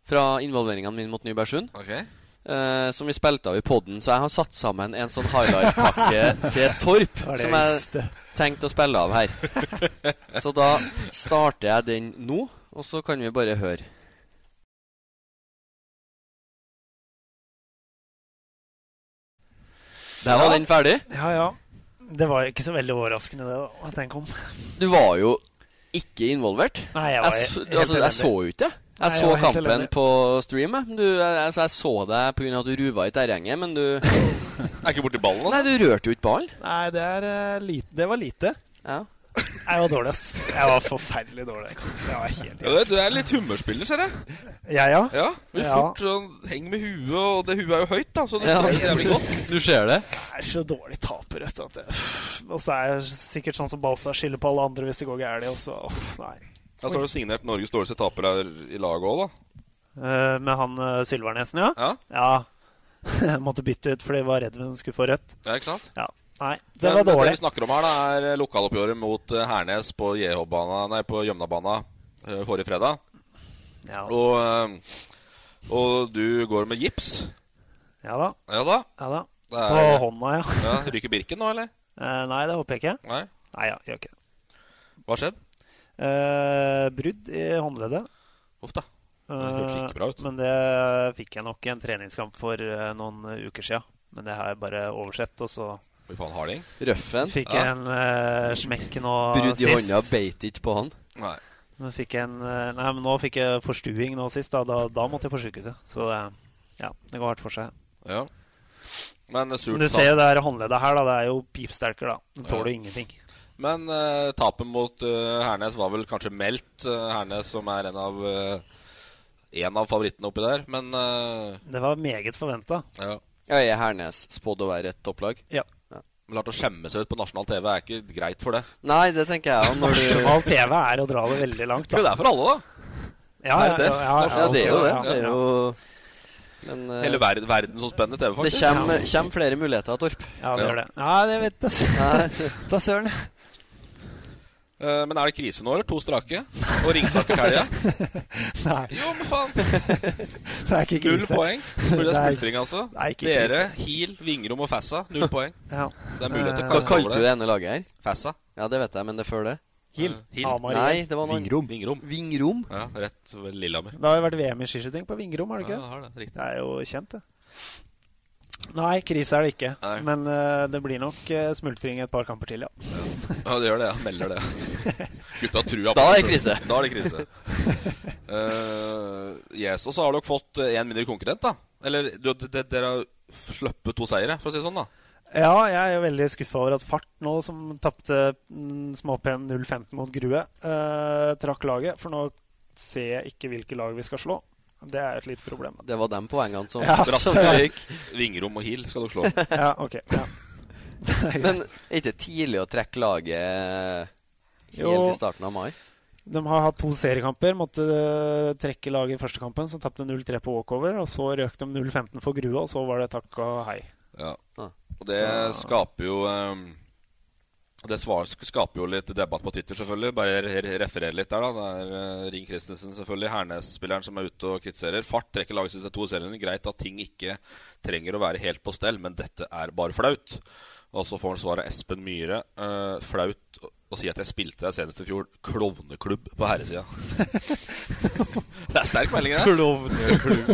[SPEAKER 2] fra involveringene mine mot Nybergsund.
[SPEAKER 1] Ok
[SPEAKER 2] eh, som vi spilte av i poden. Så jeg har satt sammen en sånn highlight-pakke til Torp.
[SPEAKER 3] Det var det
[SPEAKER 2] som
[SPEAKER 3] jeg
[SPEAKER 2] jeg
[SPEAKER 3] visste.
[SPEAKER 2] tenkte å spille av her. Så da starter jeg den nå, og så kan vi bare høre. Der var den ferdig.
[SPEAKER 3] Ja, ja. Det var jo ikke så veldig overraskende, det, da, at den kom.
[SPEAKER 2] Du var jo ikke involvert.
[SPEAKER 3] Nei, jeg
[SPEAKER 2] Jeg,
[SPEAKER 3] var
[SPEAKER 2] så,
[SPEAKER 3] helt
[SPEAKER 2] altså, jeg
[SPEAKER 3] elendig.
[SPEAKER 2] så jo ikke det. Jeg
[SPEAKER 3] Nei, jeg
[SPEAKER 2] så
[SPEAKER 3] var helt
[SPEAKER 2] kampen
[SPEAKER 3] elendig.
[SPEAKER 2] på stream. jeg. Du, jeg- altså, jeg så deg pga. at du ruva i terrenget, men du
[SPEAKER 1] Er ikke borti ballen, da?
[SPEAKER 2] Nei, du rørte jo ikke ballen.
[SPEAKER 3] Nei, det, er, eh, lite, det var lite.
[SPEAKER 2] Ja.
[SPEAKER 3] Jeg var dårlig, ass. Jeg var forferdelig dårlig. Jeg var helt
[SPEAKER 1] Ja, du er litt humørspiller, ser jeg.
[SPEAKER 3] Ja, ja.
[SPEAKER 1] Ja, men
[SPEAKER 3] Ja.
[SPEAKER 1] fort sånn, Heng med huet, og det huet er jo høyt, da, så det
[SPEAKER 2] Ja.
[SPEAKER 1] ser jævlig godt.
[SPEAKER 2] Du ser det.
[SPEAKER 3] Jeg er så dårlig taper, vet du. at jeg- Og så er jeg sikkert sånn som Balstad skylder på alle andre hvis det går gærent. Og så åh, Nei.
[SPEAKER 1] Ja, så har du signert Norges dårligste taper her i laget òg, da.
[SPEAKER 3] Eh, Med han eh, Sylvernesen, ja?
[SPEAKER 1] Ja,
[SPEAKER 3] Ja. Jeg måtte bytte ut fordi jeg var redd hun skulle få rødt.
[SPEAKER 1] ja ikke sant?
[SPEAKER 3] Ja. Nei, det
[SPEAKER 1] Men
[SPEAKER 3] var
[SPEAKER 1] Det
[SPEAKER 3] dårlig.
[SPEAKER 1] vi snakker om her, da, er lokaloppgjøret mot eh, Hernes på JH-bana Nei, på Gjømnabana eh, forrige fredag.
[SPEAKER 3] Ja,
[SPEAKER 1] Og, eh, og du går med gips.
[SPEAKER 3] ja da.
[SPEAKER 1] Ja da.
[SPEAKER 3] Ja da.
[SPEAKER 1] Det
[SPEAKER 3] På
[SPEAKER 1] er,
[SPEAKER 3] hånda, ja.
[SPEAKER 1] ja, ryker Birken nå, eller?
[SPEAKER 3] Eh, Nei, det håper jeg ikke.
[SPEAKER 1] Nei?
[SPEAKER 3] Nei, ja, gjør ikke det.
[SPEAKER 1] Hva skjedde?
[SPEAKER 3] Eh, brudd i håndleddet.
[SPEAKER 1] Uff da. Det hørtes
[SPEAKER 3] Eh,
[SPEAKER 1] ikke bra ut.
[SPEAKER 3] Men det fikk jeg nok i en treningskamp for eh, noen uker sia. Men det har jeg bare oversett, og så
[SPEAKER 1] Fy faen, harding.
[SPEAKER 2] Røffen.
[SPEAKER 3] fikk
[SPEAKER 1] Ja.
[SPEAKER 3] jeg en eh, smekk nå
[SPEAKER 2] Brudd i
[SPEAKER 3] sist.
[SPEAKER 2] hånda, beit ikke på han.
[SPEAKER 1] Nei.
[SPEAKER 3] Nå fikk jeg en, eh, nei, men nå fikk jeg eh, forstuing nå sist. Da, da, da måtte jeg på sykehuset. Så det, ja, det går hardt for seg.
[SPEAKER 1] Ja. Men eh, surt
[SPEAKER 3] Men du ser jo det her håndleddet her, da. Det er jo pipsterker, da. Det tåler
[SPEAKER 1] Ja.
[SPEAKER 3] jo ingenting.
[SPEAKER 1] Men eh, tapet mot eh, Hernes var vel kanskje meldt. eh, Hernes som er en av eh, En av favorittene oppi der. Men eh,
[SPEAKER 3] Det var meget forventa.
[SPEAKER 1] ja.
[SPEAKER 2] Ja, er Hernes spådd å være et topplag?
[SPEAKER 3] Ja.
[SPEAKER 1] Men klart å skjemme seg ut på nasjonal TV er ikke greit for det.
[SPEAKER 2] Nei, det tenker jeg òg.
[SPEAKER 3] Nasjonal TV er å dra det veldig langt,
[SPEAKER 1] Jo, det
[SPEAKER 3] da.
[SPEAKER 1] er for alle, da.
[SPEAKER 3] Ja,
[SPEAKER 1] Er
[SPEAKER 3] ja,
[SPEAKER 1] det det?
[SPEAKER 3] ja, ja,
[SPEAKER 2] Ja, det er jo det.
[SPEAKER 3] ja,
[SPEAKER 2] det er
[SPEAKER 3] ja.
[SPEAKER 2] jo... Men eh,
[SPEAKER 1] Hele verden, verden som spenner TV,
[SPEAKER 2] det
[SPEAKER 1] faktisk.
[SPEAKER 2] kommer, kommer flere muligheter, Torp.
[SPEAKER 3] Ja, det gjør det. Nei, det vet jeg s-
[SPEAKER 2] Nei,
[SPEAKER 3] da søren.
[SPEAKER 1] Eh, men er det krise nå, eller? To strake? Og Ringsaker helga?
[SPEAKER 3] Nei,
[SPEAKER 1] Jo, men faen!
[SPEAKER 3] det er ikke
[SPEAKER 1] Null
[SPEAKER 3] krise.
[SPEAKER 1] poeng. Burde det
[SPEAKER 3] Nei.
[SPEAKER 1] spultring, altså?
[SPEAKER 3] Nei, ikke
[SPEAKER 1] Dere, Heal, Vingrom og Fassa, null poeng.
[SPEAKER 3] Ja.
[SPEAKER 1] Så det er mulighet til å
[SPEAKER 2] Hva
[SPEAKER 1] kaste
[SPEAKER 2] Eh, kalte
[SPEAKER 1] over
[SPEAKER 2] du
[SPEAKER 1] det.
[SPEAKER 2] det ene laget her?
[SPEAKER 1] Fassa.
[SPEAKER 2] Ja, det vet jeg, men det er før det?
[SPEAKER 3] Hill.
[SPEAKER 1] Hill.
[SPEAKER 3] Ah, Marie.
[SPEAKER 2] Nei, det var noen
[SPEAKER 4] Vingrom.
[SPEAKER 1] Vingrom.
[SPEAKER 2] Vingrom.
[SPEAKER 1] Ja, rett ved Lillehammer.
[SPEAKER 3] Det har jo vært VM i skiskyting på Vingrom, har det
[SPEAKER 1] Ja,
[SPEAKER 3] ikke? det?
[SPEAKER 1] har det. Riktig.
[SPEAKER 3] Det er jo kjent, det. Nei, krise er det ikke.
[SPEAKER 1] Nei.
[SPEAKER 3] Men eh, det blir nok eh, smultring et par kamper til, ja.
[SPEAKER 1] Ja, det gjør det. ja. Melder det. Gutta har trua på
[SPEAKER 2] Da er
[SPEAKER 1] seg
[SPEAKER 2] det krise.
[SPEAKER 1] selv. Da er det krise. Eh, yes, og så har dere fått én mindre konkurrent, da. Eller du, de, de, dere har sluppet to seire, for å si det sånn, da.
[SPEAKER 3] Ja, jeg er jo veldig skuffa over at Fart nå, som tapte mm, småpen 0-15 mot Grue, eh, trakk laget. For nå ser jeg ikke hvilke lag vi skal slå. Det er et lite problem.
[SPEAKER 2] Det var de poengene som,
[SPEAKER 3] Ja, så-
[SPEAKER 2] som røyk.
[SPEAKER 1] Vingrom og Heal skal dere slå.
[SPEAKER 3] Ja, ok. Ja.
[SPEAKER 2] Men er ikke det tidlig å trekke laget eh, helt
[SPEAKER 3] Jo.
[SPEAKER 2] i starten av mai?
[SPEAKER 3] De har hatt to seriekamper. Måtte eh, trekke laget i første kampen, så tapte 0-3 på walkover. Og så røk de 0-15 for Grue, og så var det takk og hei.
[SPEAKER 1] Ja.
[SPEAKER 2] Ja.
[SPEAKER 1] Og det
[SPEAKER 3] Så-
[SPEAKER 1] skaper jo ehm, Det svar sk- skaper jo litt debatt på Twitter, selvfølgelig. Bare re- re- referere litt der, da. Det er eh, Ring Christensen, selvfølgelig. Hernes-spilleren som er ute og kritiserer. Fart trekker laget sitt til to serierunde. Greit at ting ikke trenger å være helt på stell, men dette er bare flaut. Og så får han svar av Espen Myhre. eh, flaut å- å si at jeg spilte der senest i fjor. Klovneklubb på herresida. det er sterk melding, det.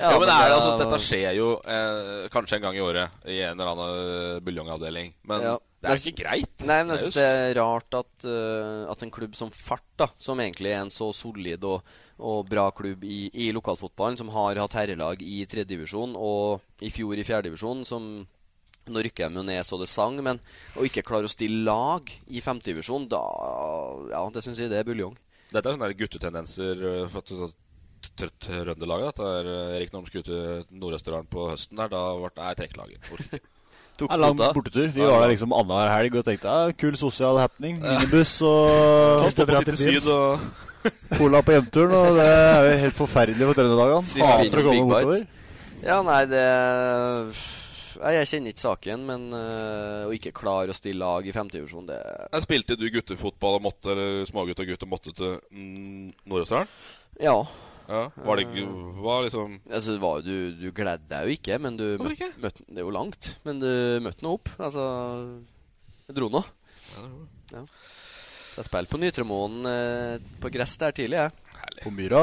[SPEAKER 1] Ja, men det er, altså, Dette skjer jo eh, kanskje en gang i året i en eller annen eh, buljongavdeling. Men
[SPEAKER 2] Ja.
[SPEAKER 1] det er jo ikke greit.
[SPEAKER 2] Nei, men
[SPEAKER 1] Det
[SPEAKER 2] jeg
[SPEAKER 1] er
[SPEAKER 2] synes det er rart at, eh, at en klubb som Fart, da, som egentlig er en så solid og, og bra klubb i, i lokalfotballen, som har hatt herrelag i tredjedivisjon og i fjor i fjerdedivisjon, som nå rykker de jo ned så det sang, men å ikke klare å stille lag i femtedivisjon, da Ja, det syns jeg det er buljong.
[SPEAKER 1] Dette er sånne der guttetendenser eh, for t- t- t- Trøndelaget. Dette er eh, Erik Norm skute Nord-Østerdalen på høsten der. Da ble det nei, trekklaget. Orker ikke.
[SPEAKER 2] Tok
[SPEAKER 4] Det er lang
[SPEAKER 2] kvota.
[SPEAKER 4] bortetur. Vi var der liksom annenhver helg og tenkte ja, kul sosial happening. Minibuss og
[SPEAKER 3] Lyst til å dra til byen.
[SPEAKER 1] Syd og
[SPEAKER 4] cola på hjemturen. Og det er jo helt forferdelig for trønderdagene.
[SPEAKER 2] Svinger innom
[SPEAKER 4] Hater å komme
[SPEAKER 2] Big
[SPEAKER 4] bortover.
[SPEAKER 2] Bite. Ja, nei, det Nei, Jeg kjenner ikke saken, men eh, å ikke klare å stille lag i femtedivisjon, det
[SPEAKER 1] Jeg spilte du guttefotball og måtte, eller smågutt og gutt og måtte til mm, Nord-Østerdalen?
[SPEAKER 2] Ja.
[SPEAKER 1] Ja. Var det ikke var liksom
[SPEAKER 2] Altså, det var, du, du gledde deg jo ikke, men du
[SPEAKER 1] Hvorfor
[SPEAKER 2] møtte,
[SPEAKER 1] ikke?
[SPEAKER 2] møtte Det er jo langt, men du møtte nå opp. Altså Jeg dro nå. Ja. Jeg spilte på Nytremoen eh, på gress der tidlig, jeg.
[SPEAKER 1] Herlig.
[SPEAKER 4] På Myra.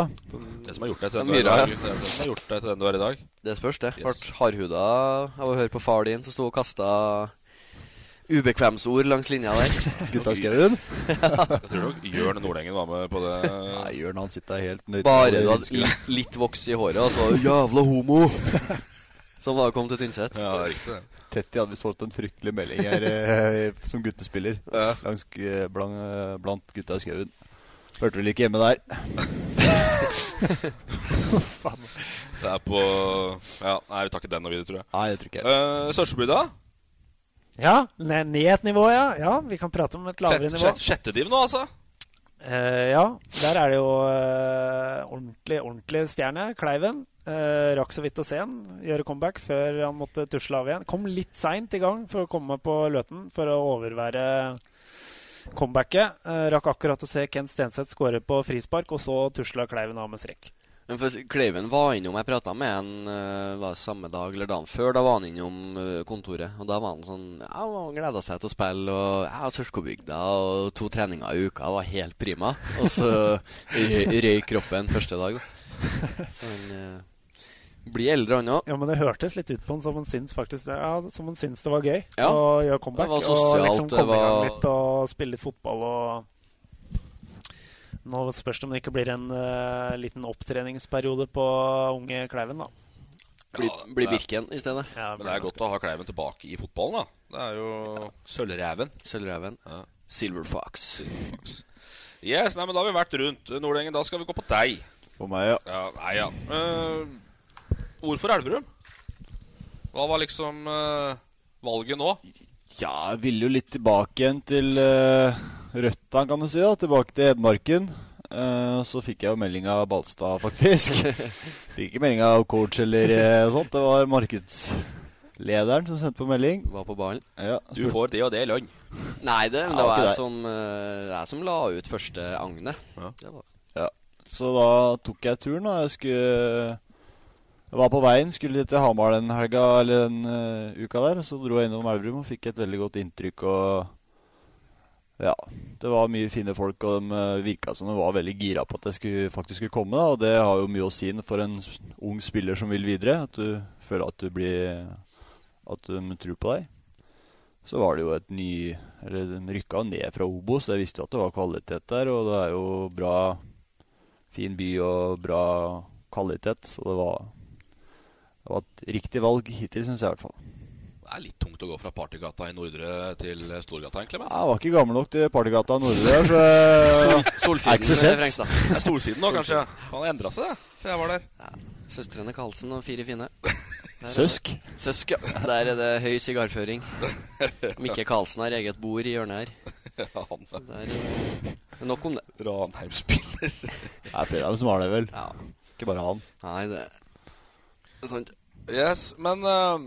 [SPEAKER 1] Det som har gjort deg til den du er i
[SPEAKER 2] Myra, ja.
[SPEAKER 1] dag. Det er det som har gjort deg til den du er i dag.
[SPEAKER 2] Det spørs, det. Ble
[SPEAKER 1] Yes.
[SPEAKER 2] hardhuda av å høre på far din som sto og kasta ubekvemsord langs linja der.
[SPEAKER 4] Gutta Skauen.
[SPEAKER 1] Jeg tror nok Jørn Nordengen var med på det.
[SPEAKER 4] Nei, Jørn han sitter helt nøytral.
[SPEAKER 2] Bare du hadde li, litt voks i håret, og så 'jævla homo'. Som da kom til Tynset.
[SPEAKER 1] Ja, det er riktig. det.
[SPEAKER 4] Tetty hadde visst fått en fryktelig melding her eh, som guttespiller
[SPEAKER 1] Ja.
[SPEAKER 4] langs, eh, blant, eh, blant gutta i skauen. Hørte vel ikke hjemme der.
[SPEAKER 1] Det er på Ja, nei, vi tar ikke den og videre, tror jeg.
[SPEAKER 4] Nei, det tror ikke jeg.
[SPEAKER 1] Uh, Sørsebygda.
[SPEAKER 3] Ja, ned, ned et nivå, ja. ja. Vi kan prate om et lavere
[SPEAKER 1] Sjette,
[SPEAKER 3] nivå.
[SPEAKER 1] sjette, sjette div nå, altså.
[SPEAKER 3] Eh, ja, der er det jo eh, ordentlig, ordentlig stjerne. Kleiven. Eh, rakk så vidt å se han gjøre comeback før han måtte tusle av igjen. Kom litt seint i gang for å komme på Løten for å overvære comebacket. Eh, rakk akkurat å se Kent Stenseth skåre på frispark, og så tusla Kleiven av med strekk.
[SPEAKER 2] Men for Kleiven var innom Jeg prata med han eh, var det samme dag eller dagen før. Da var han innom eh, kontoret. Og da var han sånn ja, Han gleda seg til å spille. Og ja, Sørskobygda og to treninger i uka var helt prima. Og så røy røyk kroppen første dag. da. Så han eh, blir eldre, han òg.
[SPEAKER 3] Ja, men det hørtes litt ut på han som han syns faktisk det, ja, som han syns det var gøy
[SPEAKER 2] Ja.
[SPEAKER 3] å gjøre comeback.
[SPEAKER 2] Det var
[SPEAKER 3] og
[SPEAKER 2] sosialt,
[SPEAKER 3] liksom
[SPEAKER 2] det
[SPEAKER 3] komme i gang
[SPEAKER 2] var-
[SPEAKER 3] litt og spille litt fotball og Nå spørs det om det ikke blir en eh, liten opptreningsperiode på unge Kleiven, da.
[SPEAKER 2] Bli, bli Birken i stedet.
[SPEAKER 1] Men det er godt å ha Kleiven tilbake i fotballen, da. Det er jo Sølvreven.
[SPEAKER 2] Sølvreven. Silver Fox.
[SPEAKER 1] Yes, nei, men da har vi vært rundt. Nordengen, da skal vi gå på deg.
[SPEAKER 4] På meg, ja.
[SPEAKER 1] Ja, nei, ja. Eh, hvorfor Elverum? Hva var liksom eh, valget nå?
[SPEAKER 4] Ja, jeg ville jo litt tilbake igjen til uh, røtta, kan du si. da Tilbake til Hedmarken. Eh, og så fikk jeg jo melding av Balstad, faktisk. fikk ikke melding av coach eller eh, sånt. Det var markedslederen som sendte på melding.
[SPEAKER 2] Var på ballen.
[SPEAKER 4] Ja,
[SPEAKER 1] Du får det og det lønn.
[SPEAKER 2] Nei, det, men
[SPEAKER 4] Ja,
[SPEAKER 2] det var
[SPEAKER 4] ikke
[SPEAKER 2] jeg
[SPEAKER 4] det.
[SPEAKER 2] som, eh, jeg som la ut første agnet. Det var
[SPEAKER 4] Ja. Så da tok jeg turen, da. Jeg skulle jeg var på veien, skulle til Hamar den helga, eller den eh, uka der. og Så dro jeg innom Elverum og fikk et veldig godt inntrykk. og Ja. Det var mye fine folk, og de eh, virka som de var veldig gira på at jeg skulle, faktisk skulle komme. da, Og det har jo mye å si for en s- ung spiller som vil videre. At du føler at du blir At de tror på deg. Så var det jo et ny Eller de rykka jo ned fra Obos. Jeg visste jo at det var kvalitet der, og det er jo bra Fin by og bra kvalitet, så det var det var et riktig valg hittil, syns jeg i hvert fall.
[SPEAKER 1] Det er litt tungt å gå fra Partygata i Nordre til Storgata, egentlig. Men.
[SPEAKER 4] Jeg var ikke gammel nok til Partygata Nordre der, så jeg
[SPEAKER 2] Sol-
[SPEAKER 4] jeg er ikke så
[SPEAKER 2] Solsiden,
[SPEAKER 4] sent.
[SPEAKER 2] Frengstad.
[SPEAKER 1] Det er Solsiden nå, kanskje. Han har endra seg, det. til Jeg var der.
[SPEAKER 2] Søstrene Karlsen og fire fine. Der er
[SPEAKER 4] Søsk.
[SPEAKER 2] det- Søsk, ja. Der er det høy sigarføring. Mikke Karlsen har eget bord i hjørnet her.
[SPEAKER 1] Han
[SPEAKER 2] Så Der, eh, men nok om det.
[SPEAKER 1] Ranheim-spiller.
[SPEAKER 4] Det er flere av dem som har det, vel.
[SPEAKER 2] Ja.
[SPEAKER 4] Ikke bare han.
[SPEAKER 2] Nei, det det er sant.
[SPEAKER 1] Yes, men eh,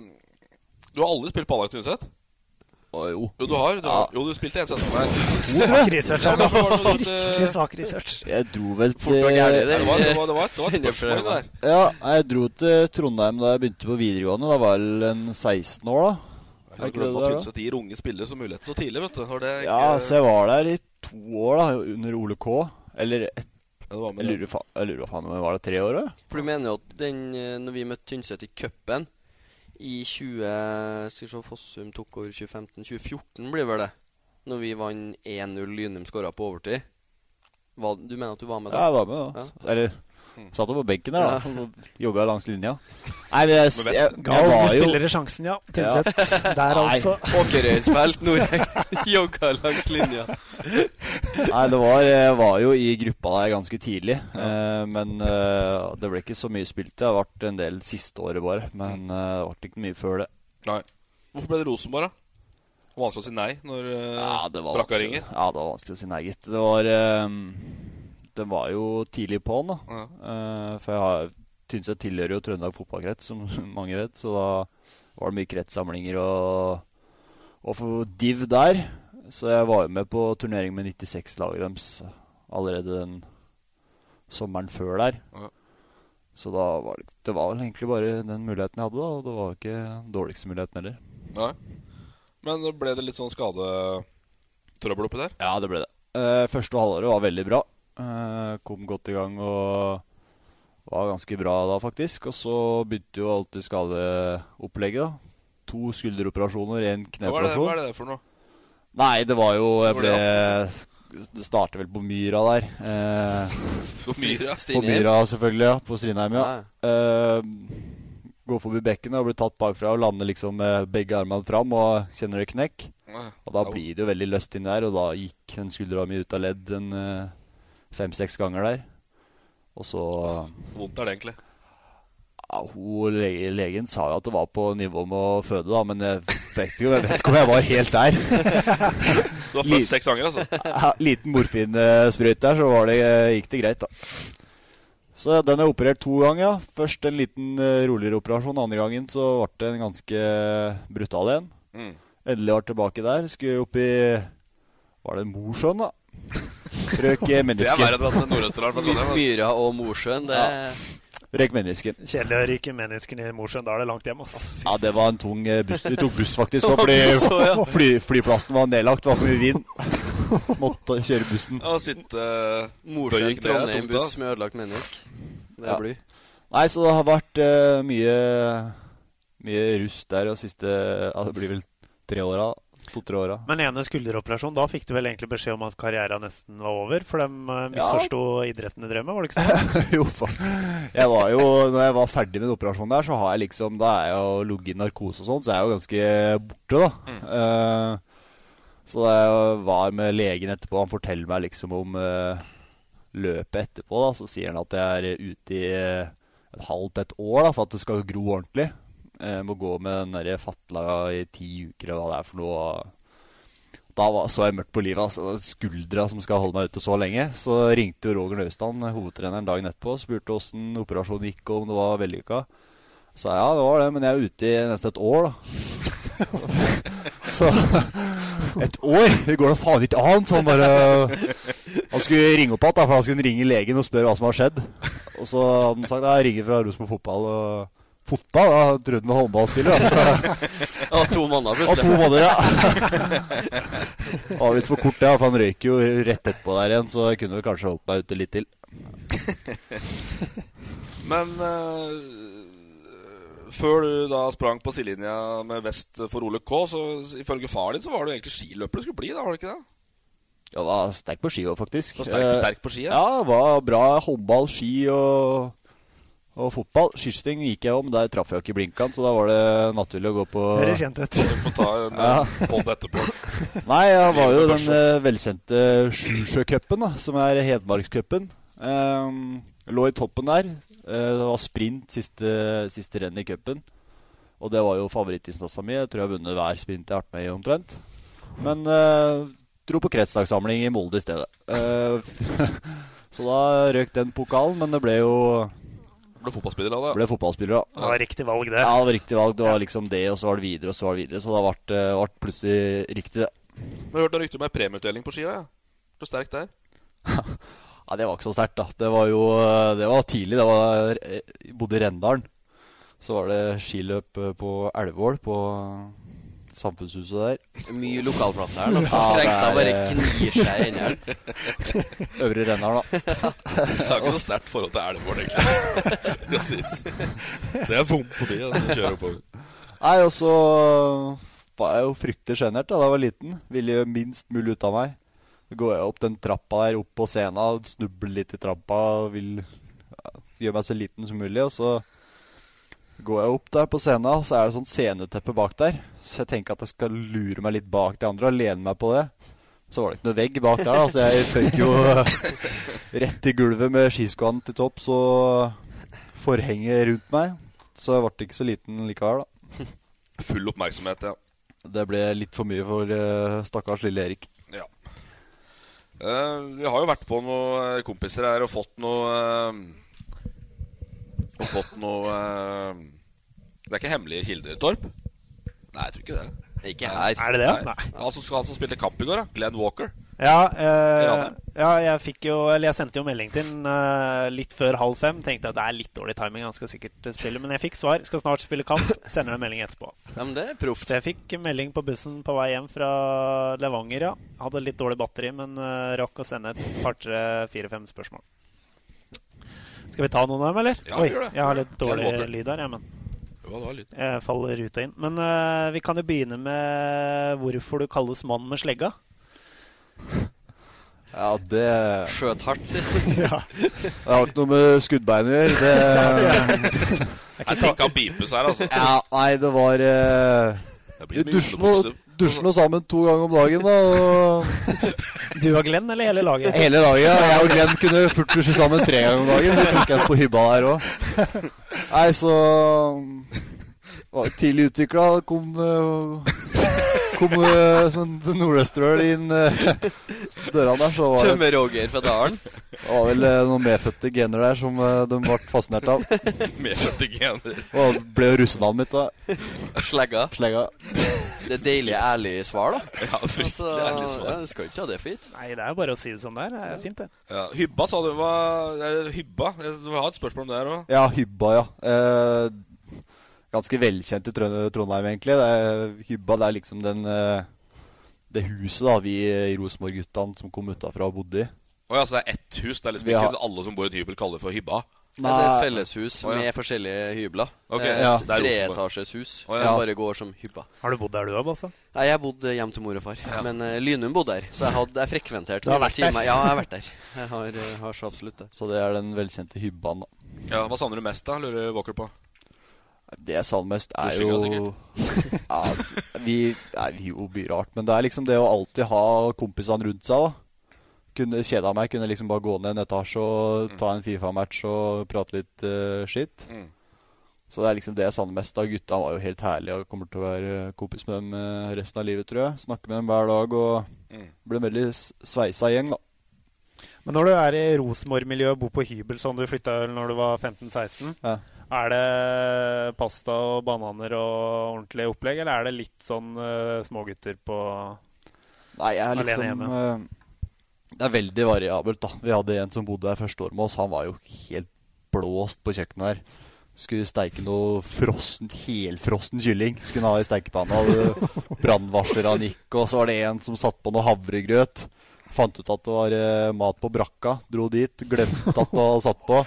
[SPEAKER 1] du har aldri spilt på Alak Tynset?
[SPEAKER 4] Å, jo.
[SPEAKER 1] Jo, du har. Du, jo, du spilte en sesong der.
[SPEAKER 3] Svak research her nå.
[SPEAKER 1] Hvorfor var det noe
[SPEAKER 3] Virkelig
[SPEAKER 1] sånt, eh,
[SPEAKER 3] svak research.
[SPEAKER 4] Jeg dro vel
[SPEAKER 2] Fort og gærlig,
[SPEAKER 4] til
[SPEAKER 1] det var, det, var, det, var, det var et spørsmål det der.
[SPEAKER 4] Ja, jeg dro til Trondheim da jeg begynte på videregående. Da var jeg vel en 16 år, da.
[SPEAKER 1] Jeg
[SPEAKER 4] Er ikke det
[SPEAKER 1] glemmer
[SPEAKER 4] det
[SPEAKER 1] at
[SPEAKER 4] er, da?
[SPEAKER 1] Tynset gir unge spillere så mulighet så tidlig, vet du. Når det ikke,
[SPEAKER 4] Ja, så jeg var der i to år, da, under Ole K. Eller et,
[SPEAKER 1] det var
[SPEAKER 4] jeg
[SPEAKER 1] med,
[SPEAKER 4] lurer fa- jeg lurer hva faen om jeg var der tre år, da?
[SPEAKER 2] For du mener jo at den, eh, når vi møtte Tynset i cupen i 20 Skal vi se, Fossum tok over 2015. 2014 blir vel det. Når vi vant 1-0, Lynum skåra på overtid. Hva, du mener at du var med
[SPEAKER 4] Ja,
[SPEAKER 2] da?
[SPEAKER 4] jeg var med, da. Eller satt jo på benken der, da.
[SPEAKER 2] Ja.
[SPEAKER 4] og Jogga langs linja. Nei, men jeg, jeg, jeg,
[SPEAKER 3] Ga unge
[SPEAKER 4] var jo
[SPEAKER 3] spillere sjansen, ja. Tynset. Der,
[SPEAKER 4] Nei.
[SPEAKER 3] altså.
[SPEAKER 2] Åkerøyfelt, Norheim. Jogga langs linja.
[SPEAKER 4] Nei, det var, jeg var jo i gruppa der ganske tidlig. eh, men eh, det ble ikke så mye spilt. Det har vært en del siste året, bare. Men eh, det ble ikke mye før det.
[SPEAKER 1] nei. Hvorfor ble det Rosenborg, da? Det var Vanskelig å si nei når eh, brakka
[SPEAKER 4] vanskelig.
[SPEAKER 1] ringer.
[SPEAKER 4] Ja, det var vanskelig å si nei, gitt. Det var eh, Den var jo tidlig på'n, da. Eh, for jeg har Tynset tilhører jo Trøndelag fotballkrets, som mange vet. Så da var det mye kretssamlinger og, og for div der. Så jeg var jo med på turnering med 96-laget deres allerede den sommeren før der.
[SPEAKER 1] Ja.
[SPEAKER 4] Så da var det, det var vel egentlig bare den muligheten jeg hadde, da. Og det var jo ikke den dårligste muligheten heller.
[SPEAKER 1] Nei. Men ble det litt sånn skadetrøbbel oppi der?
[SPEAKER 4] Ja, det ble det. Eh, første halvåret var veldig bra. Eh, kom godt i gang og var ganske bra da, faktisk. Og så begynte jo alltid skadeopplegget, da. To
[SPEAKER 1] Hva
[SPEAKER 4] skulderoperasjoner, én
[SPEAKER 1] er, det, hva
[SPEAKER 4] kneoperasjon.
[SPEAKER 1] er det der for noe?
[SPEAKER 4] Nei, det var jo Jeg
[SPEAKER 1] Hvor
[SPEAKER 4] ble Det startet vel på Myra der. Eh,
[SPEAKER 1] Myra?
[SPEAKER 4] på Myra, selvfølgelig. ja, På Strindheim, ja.
[SPEAKER 2] Ja.
[SPEAKER 4] Eh, Gå forbi bekkenet og bli tatt bakfra og lande liksom med begge armene fram og kjenner det knekk. Og da blir det jo veldig løst inn der, og da gikk den skuldra mi ut av ledd en eh, fem-seks ganger der. Og så
[SPEAKER 1] Hvor vondt er det egentlig?
[SPEAKER 4] ja, hun, lege, Legen sa jo at det var på nivå med å føde, da, men jeg vet ikke, jeg vet ikke om jeg var helt der.
[SPEAKER 1] Du har
[SPEAKER 4] Liv.
[SPEAKER 1] født seks ganger, altså?
[SPEAKER 4] Ja, Liten morfinsprøyt der, så var det, eh, gikk det greit, da. Så den er operert to ganger. ja. Først en liten eh, roligere operasjon. Andre gangen så ble det en ganske brutal en.
[SPEAKER 1] Mm.
[SPEAKER 4] Endelig var tilbake der. Skulle opp i Var det Mosjøen, da? Røk eh,
[SPEAKER 1] Det er verre
[SPEAKER 4] mennesken.
[SPEAKER 1] enn at Nordøsterdalen ble sånn.
[SPEAKER 2] Myra og Mosjøen, det
[SPEAKER 4] Ja. Røk mennesken.
[SPEAKER 3] Kjedelig å ryke mennesker i Mosjøen. Da er det langt hjem, ass.
[SPEAKER 4] Ja, det var en tung eh, buss. Vi tok buss faktisk nå, fordi fly, flyplassen var nedlagt. Det var for mye vind. Måtte kjøre bussen.
[SPEAKER 1] Å sitte eh, bøy i
[SPEAKER 2] Mosjøen,
[SPEAKER 1] kneet,
[SPEAKER 2] Trondheim
[SPEAKER 1] tungt,
[SPEAKER 2] buss
[SPEAKER 1] da.
[SPEAKER 2] med ødelagt menneske. Det
[SPEAKER 4] Ja.
[SPEAKER 2] blir
[SPEAKER 4] Nei, så det har vært eh, mye Mye rust der og siste Ja, det blir vel tre åra. to-tre åra.
[SPEAKER 3] Men ene skulderoperasjon, da fikk du vel egentlig beskjed om at karrieren nesten var over? For de eh, misforsto idretten du drev med, var det ikke sånn?
[SPEAKER 4] jo, faen. Jeg var jo, når jeg var ferdig med den operasjonen der, så har jeg liksom Da er jeg jo ligget i narkose og sånn, så jeg er jo ganske borte, da. Eh, så da jeg var med legen etterpå, han forteller meg liksom om eh, løpet etterpå, da. Så sier han at jeg er ute i eh, et halvt et år da, for at det skal gro ordentlig. Eh, må gå med den derre fatla i ti uker eller hva det er for noe. Da var, så jeg mørkt på livet. altså Det er Skuldra som skal holde meg ute så lenge. Så ringte jo Roger Naustdal, hovedtreneren, dagen etterpå og spurte åssen operasjonen gikk, og om det var vellykka. Så sa jeg, ja, det var det, men jeg er ute i nesten et år, da. så Et år? Det går da faen ikke an! Så han bare Han skulle ringe opp igjen, da, for han skulle ringe legen og spørre hva som har skjedd. Og så hadde han sagt ja, jeg ringer fra Rosenborg fotball. og Fotball? Da Han trodde han var håndballspiller. da.
[SPEAKER 2] Ja, to måneder plutselig.
[SPEAKER 4] Ja, to måneder, ja. Var litt for kort, ja, for han røyk jo rett etterpå der igjen, så jeg kunne vel kanskje holdt meg ute litt til.
[SPEAKER 1] Men eh, før du da sprang på sidelinja med vest for Ole K, så så ifølge far din så var du egentlig skiløper du skulle bli, da, var det ikke det?
[SPEAKER 4] Ja, var sterk på ski òg, faktisk.
[SPEAKER 1] Og sterk-
[SPEAKER 4] Eh,
[SPEAKER 1] sterk på ski, ja.
[SPEAKER 4] Ja, var bra håndball, ski og, og fotball. Skiskyting gikk jeg om, der traff jeg jo ikke blinkene, så da var det naturlig å gå på
[SPEAKER 3] Høres kjent ut.
[SPEAKER 1] Vi får ta en eh,
[SPEAKER 4] Ja.
[SPEAKER 1] podd etterpå.
[SPEAKER 4] Nei, jeg var jo den eh, velkjente Sjusjøcupen, da, som er Hedmarkscupen. Ehm, lå i toppen der. Eh, det var sprint siste, siste renn i cupen. Og det var jo favorittinnsatsa mi. Jeg tror jeg har vunnet hver sprint jeg har vært med i, omtrent. Men eh, dro på kretsdagssamling i Molde i stedet. Eh, så da røk den pokalen, men det ble jo
[SPEAKER 1] Ble fotballspiller av det.
[SPEAKER 4] ble fotballspiller, da.
[SPEAKER 3] Det var riktig valg, det.
[SPEAKER 4] Ja, det var riktig valg. Det var liksom det, og så var det videre, og så var det videre. Så da ble det ble plutselig riktig, det.
[SPEAKER 1] Men jeg hørte rykter om ei premieutdeling på ski òg, ja. Så sterk der.
[SPEAKER 4] Ja, det var ikke så sterkt, da. Det var jo eh, det var tidlig. Det var, jeg bodde i Rendalen. Så var det skiløp eh, på Elvål, på samfunnshuset der.
[SPEAKER 2] Mye lokalplasser her, da.
[SPEAKER 4] det
[SPEAKER 2] Frengstad bare
[SPEAKER 4] er, eh,
[SPEAKER 2] knir seg i Rendalen.
[SPEAKER 4] Øvre Rendalen, da.
[SPEAKER 1] Jeg har ikke noe sterkt forhold til Elvål, egentlig. Det sies. Det er vondt forbi altså, å kjøre oppover.
[SPEAKER 4] Nei, og så var jeg jo fryktelig sjenert da da jeg var liten. Ville gjøre minst mulig ut av meg. Så går jeg opp den trappa der, opp på scenen, snubler litt i trappa, vil ja, gjøre meg så liten som mulig. Og så går jeg opp der på scenen, og så er det sånn sceneteppe bak der. Så jeg tenker at jeg skal lure meg litt bak de andre og lene meg på det. Så var det ikke noe vegg bak der, da, så jeg føyk jo eh, rett i gulvet med skiskoene til topps og forhenget rundt meg. Så jeg ble ikke så liten likevel, da.
[SPEAKER 1] Full oppmerksomhet, ja.
[SPEAKER 4] Det ble litt for mye for eh, stakkars lille Erik.
[SPEAKER 1] Ja. Eh, vi har jo vært på noen eh, kompiser her og fått noe eh, Og fått noe eh, Det er ikke hemmelige kilder, Torp? Nei, jeg tror ikke det.
[SPEAKER 2] Ikke her.
[SPEAKER 3] Er det det?
[SPEAKER 1] Nei. Han som, han som spilte kamp i går, da. Glenn Walker.
[SPEAKER 3] Ja, eh, ja, jeg fikk jo Eller jeg sendte jo melding til den eh, litt før halv fem. Tenkte at det er litt dårlig timing, han skal sikkert eh, spille. Men jeg fikk svar. Skal snart spille kamp. Sender en melding etterpå.
[SPEAKER 2] Ja, men det er proft.
[SPEAKER 3] Så jeg fikk melding på bussen på vei hjem fra Levanger, ja. Hadde litt dårlig batteri, men eh, rakk å sende et par-tre, fire-fem spørsmål. Skal vi ta noen av dem, eller?
[SPEAKER 1] Ja,
[SPEAKER 3] Oi,
[SPEAKER 1] gjør det.
[SPEAKER 3] jeg har litt
[SPEAKER 1] Gjør det.
[SPEAKER 3] dårlig
[SPEAKER 1] Jeg håper.
[SPEAKER 3] lyd her, jeg, men
[SPEAKER 1] Jo, det var litt.
[SPEAKER 3] jeg faller ut og inn. Men eh, vi kan jo begynne med hvorfor du kalles mann med slegga.
[SPEAKER 4] Ja, det
[SPEAKER 2] Skjøt hardt, sier
[SPEAKER 4] Det har ikke noe med skuddbein å gjøre. Det,
[SPEAKER 1] Jeg tenker han bipes her, altså.
[SPEAKER 4] ja, nei, det var eh,
[SPEAKER 1] Det
[SPEAKER 4] Vi
[SPEAKER 1] blir mye
[SPEAKER 4] dusjer nå-
[SPEAKER 1] underbukser.
[SPEAKER 4] dusjer nå sammen to ganger om dagen, da. Og
[SPEAKER 3] Du og Glenn, eller hele laget?
[SPEAKER 4] hele dagen. ja. Jeg og Glenn kunne fort dusje sammen tre ganger om dagen. Det tok jeg på hybba der òg. Nei, så var Tidlig utvikla. Kom, eh, kom eh, som en nordøsterøl inn eh, døra der, så var det
[SPEAKER 2] Tømmer Roger fra dalen.
[SPEAKER 4] Det var vel eh, noen medfødte gener der som eh, de ble fascinert av.
[SPEAKER 1] Medfødte gener.
[SPEAKER 4] Og det ble jo russenavnet mitt, da.
[SPEAKER 2] Slegga.
[SPEAKER 4] Slegga.
[SPEAKER 2] Det er deilige, ærlige svar, da.
[SPEAKER 1] Ja, fryktelig ærlig
[SPEAKER 2] Altså,
[SPEAKER 1] svar.
[SPEAKER 2] Ja, du skal ikke ta det for gitt.
[SPEAKER 3] Nei, det er jo bare å si det som det er. Det er fint, det.
[SPEAKER 1] Ja, hybba, sa du. Hva, eh, hybba? Jeg har et spørsmål om det her òg.
[SPEAKER 4] Ja, Hybba, ja. Eh, ganske velkjent i Trøn- Trondheim, egentlig. Det er, hybba det er liksom den eh, det huset da vi eh, i Rosenborg-guttene som kom utafra og bodde i.
[SPEAKER 1] Å ja, så det er ett hus? Det er liksom
[SPEAKER 4] Vi
[SPEAKER 1] ikke
[SPEAKER 4] har-
[SPEAKER 1] alle som bor i et hybel, kaller det for hybba?
[SPEAKER 2] Det er et felleshus
[SPEAKER 1] Å, ja.
[SPEAKER 2] med forskjellige hybler.
[SPEAKER 1] Ok,
[SPEAKER 2] Det
[SPEAKER 1] ja.
[SPEAKER 2] er Et
[SPEAKER 1] Det er Rosenborg.
[SPEAKER 2] treetasjes hus
[SPEAKER 1] Å, ja.
[SPEAKER 2] som bare går som hybba.
[SPEAKER 3] Har du bodd der du altså? har, Basse?
[SPEAKER 2] Nei, jeg bodde hjemme til mor og far. Men eh, Lynum bodde her, så jeg hadde jeg frekventert
[SPEAKER 3] Du har
[SPEAKER 2] mine
[SPEAKER 3] vært der?
[SPEAKER 2] timer. Ja, jeg har vært der. Jeg har, eh, har så absolutt det.
[SPEAKER 4] Så det er den velkjente hybbaen, da.
[SPEAKER 1] Ja, Hva savner du mest, da? Lurer Walker på.
[SPEAKER 4] Det jeg savner mest, er
[SPEAKER 1] Dusjinga,
[SPEAKER 4] jo ja, vi, nei, vi jo blir rart, men det er liksom det å alltid ha kompisene rundt seg. da Kunne kjeda meg, kunne liksom bare gå ned en etasje og ta en Fifa-match og prate litt eh, skitt.
[SPEAKER 1] Mm.
[SPEAKER 4] Så det er liksom det jeg savner mest. da Gutta var jo helt herlige og kommer til å være kompis med dem eh, resten av livet, tror jeg. Snakke med dem hver dag og
[SPEAKER 1] Mm.
[SPEAKER 4] bli en veldig s- sveisa gjeng, da.
[SPEAKER 3] Men når du er i Rosenborg-miljøet, bor på hybel sånn du flytta vel når du var 15-16,
[SPEAKER 4] Ja.
[SPEAKER 3] er det pasta og bananer og ordentlig opplegg, eller er det litt sånn eh, smågutter på
[SPEAKER 4] Nei, jeg er
[SPEAKER 3] Alene
[SPEAKER 4] liksom eh, Det er veldig variabelt, da. Vi hadde en som bodde her første året med oss. Han var jo helt blåst på kjøkkenet her. Skulle steike noe frossen, helfrossen kylling. Skulle han ha i steikepanna. Hadde Brannvarsler han gikk, og så var det en som satte på noe havregrøt. Fant ut at det var eh, mat på brakka. Dro dit, glemte at det var satt på.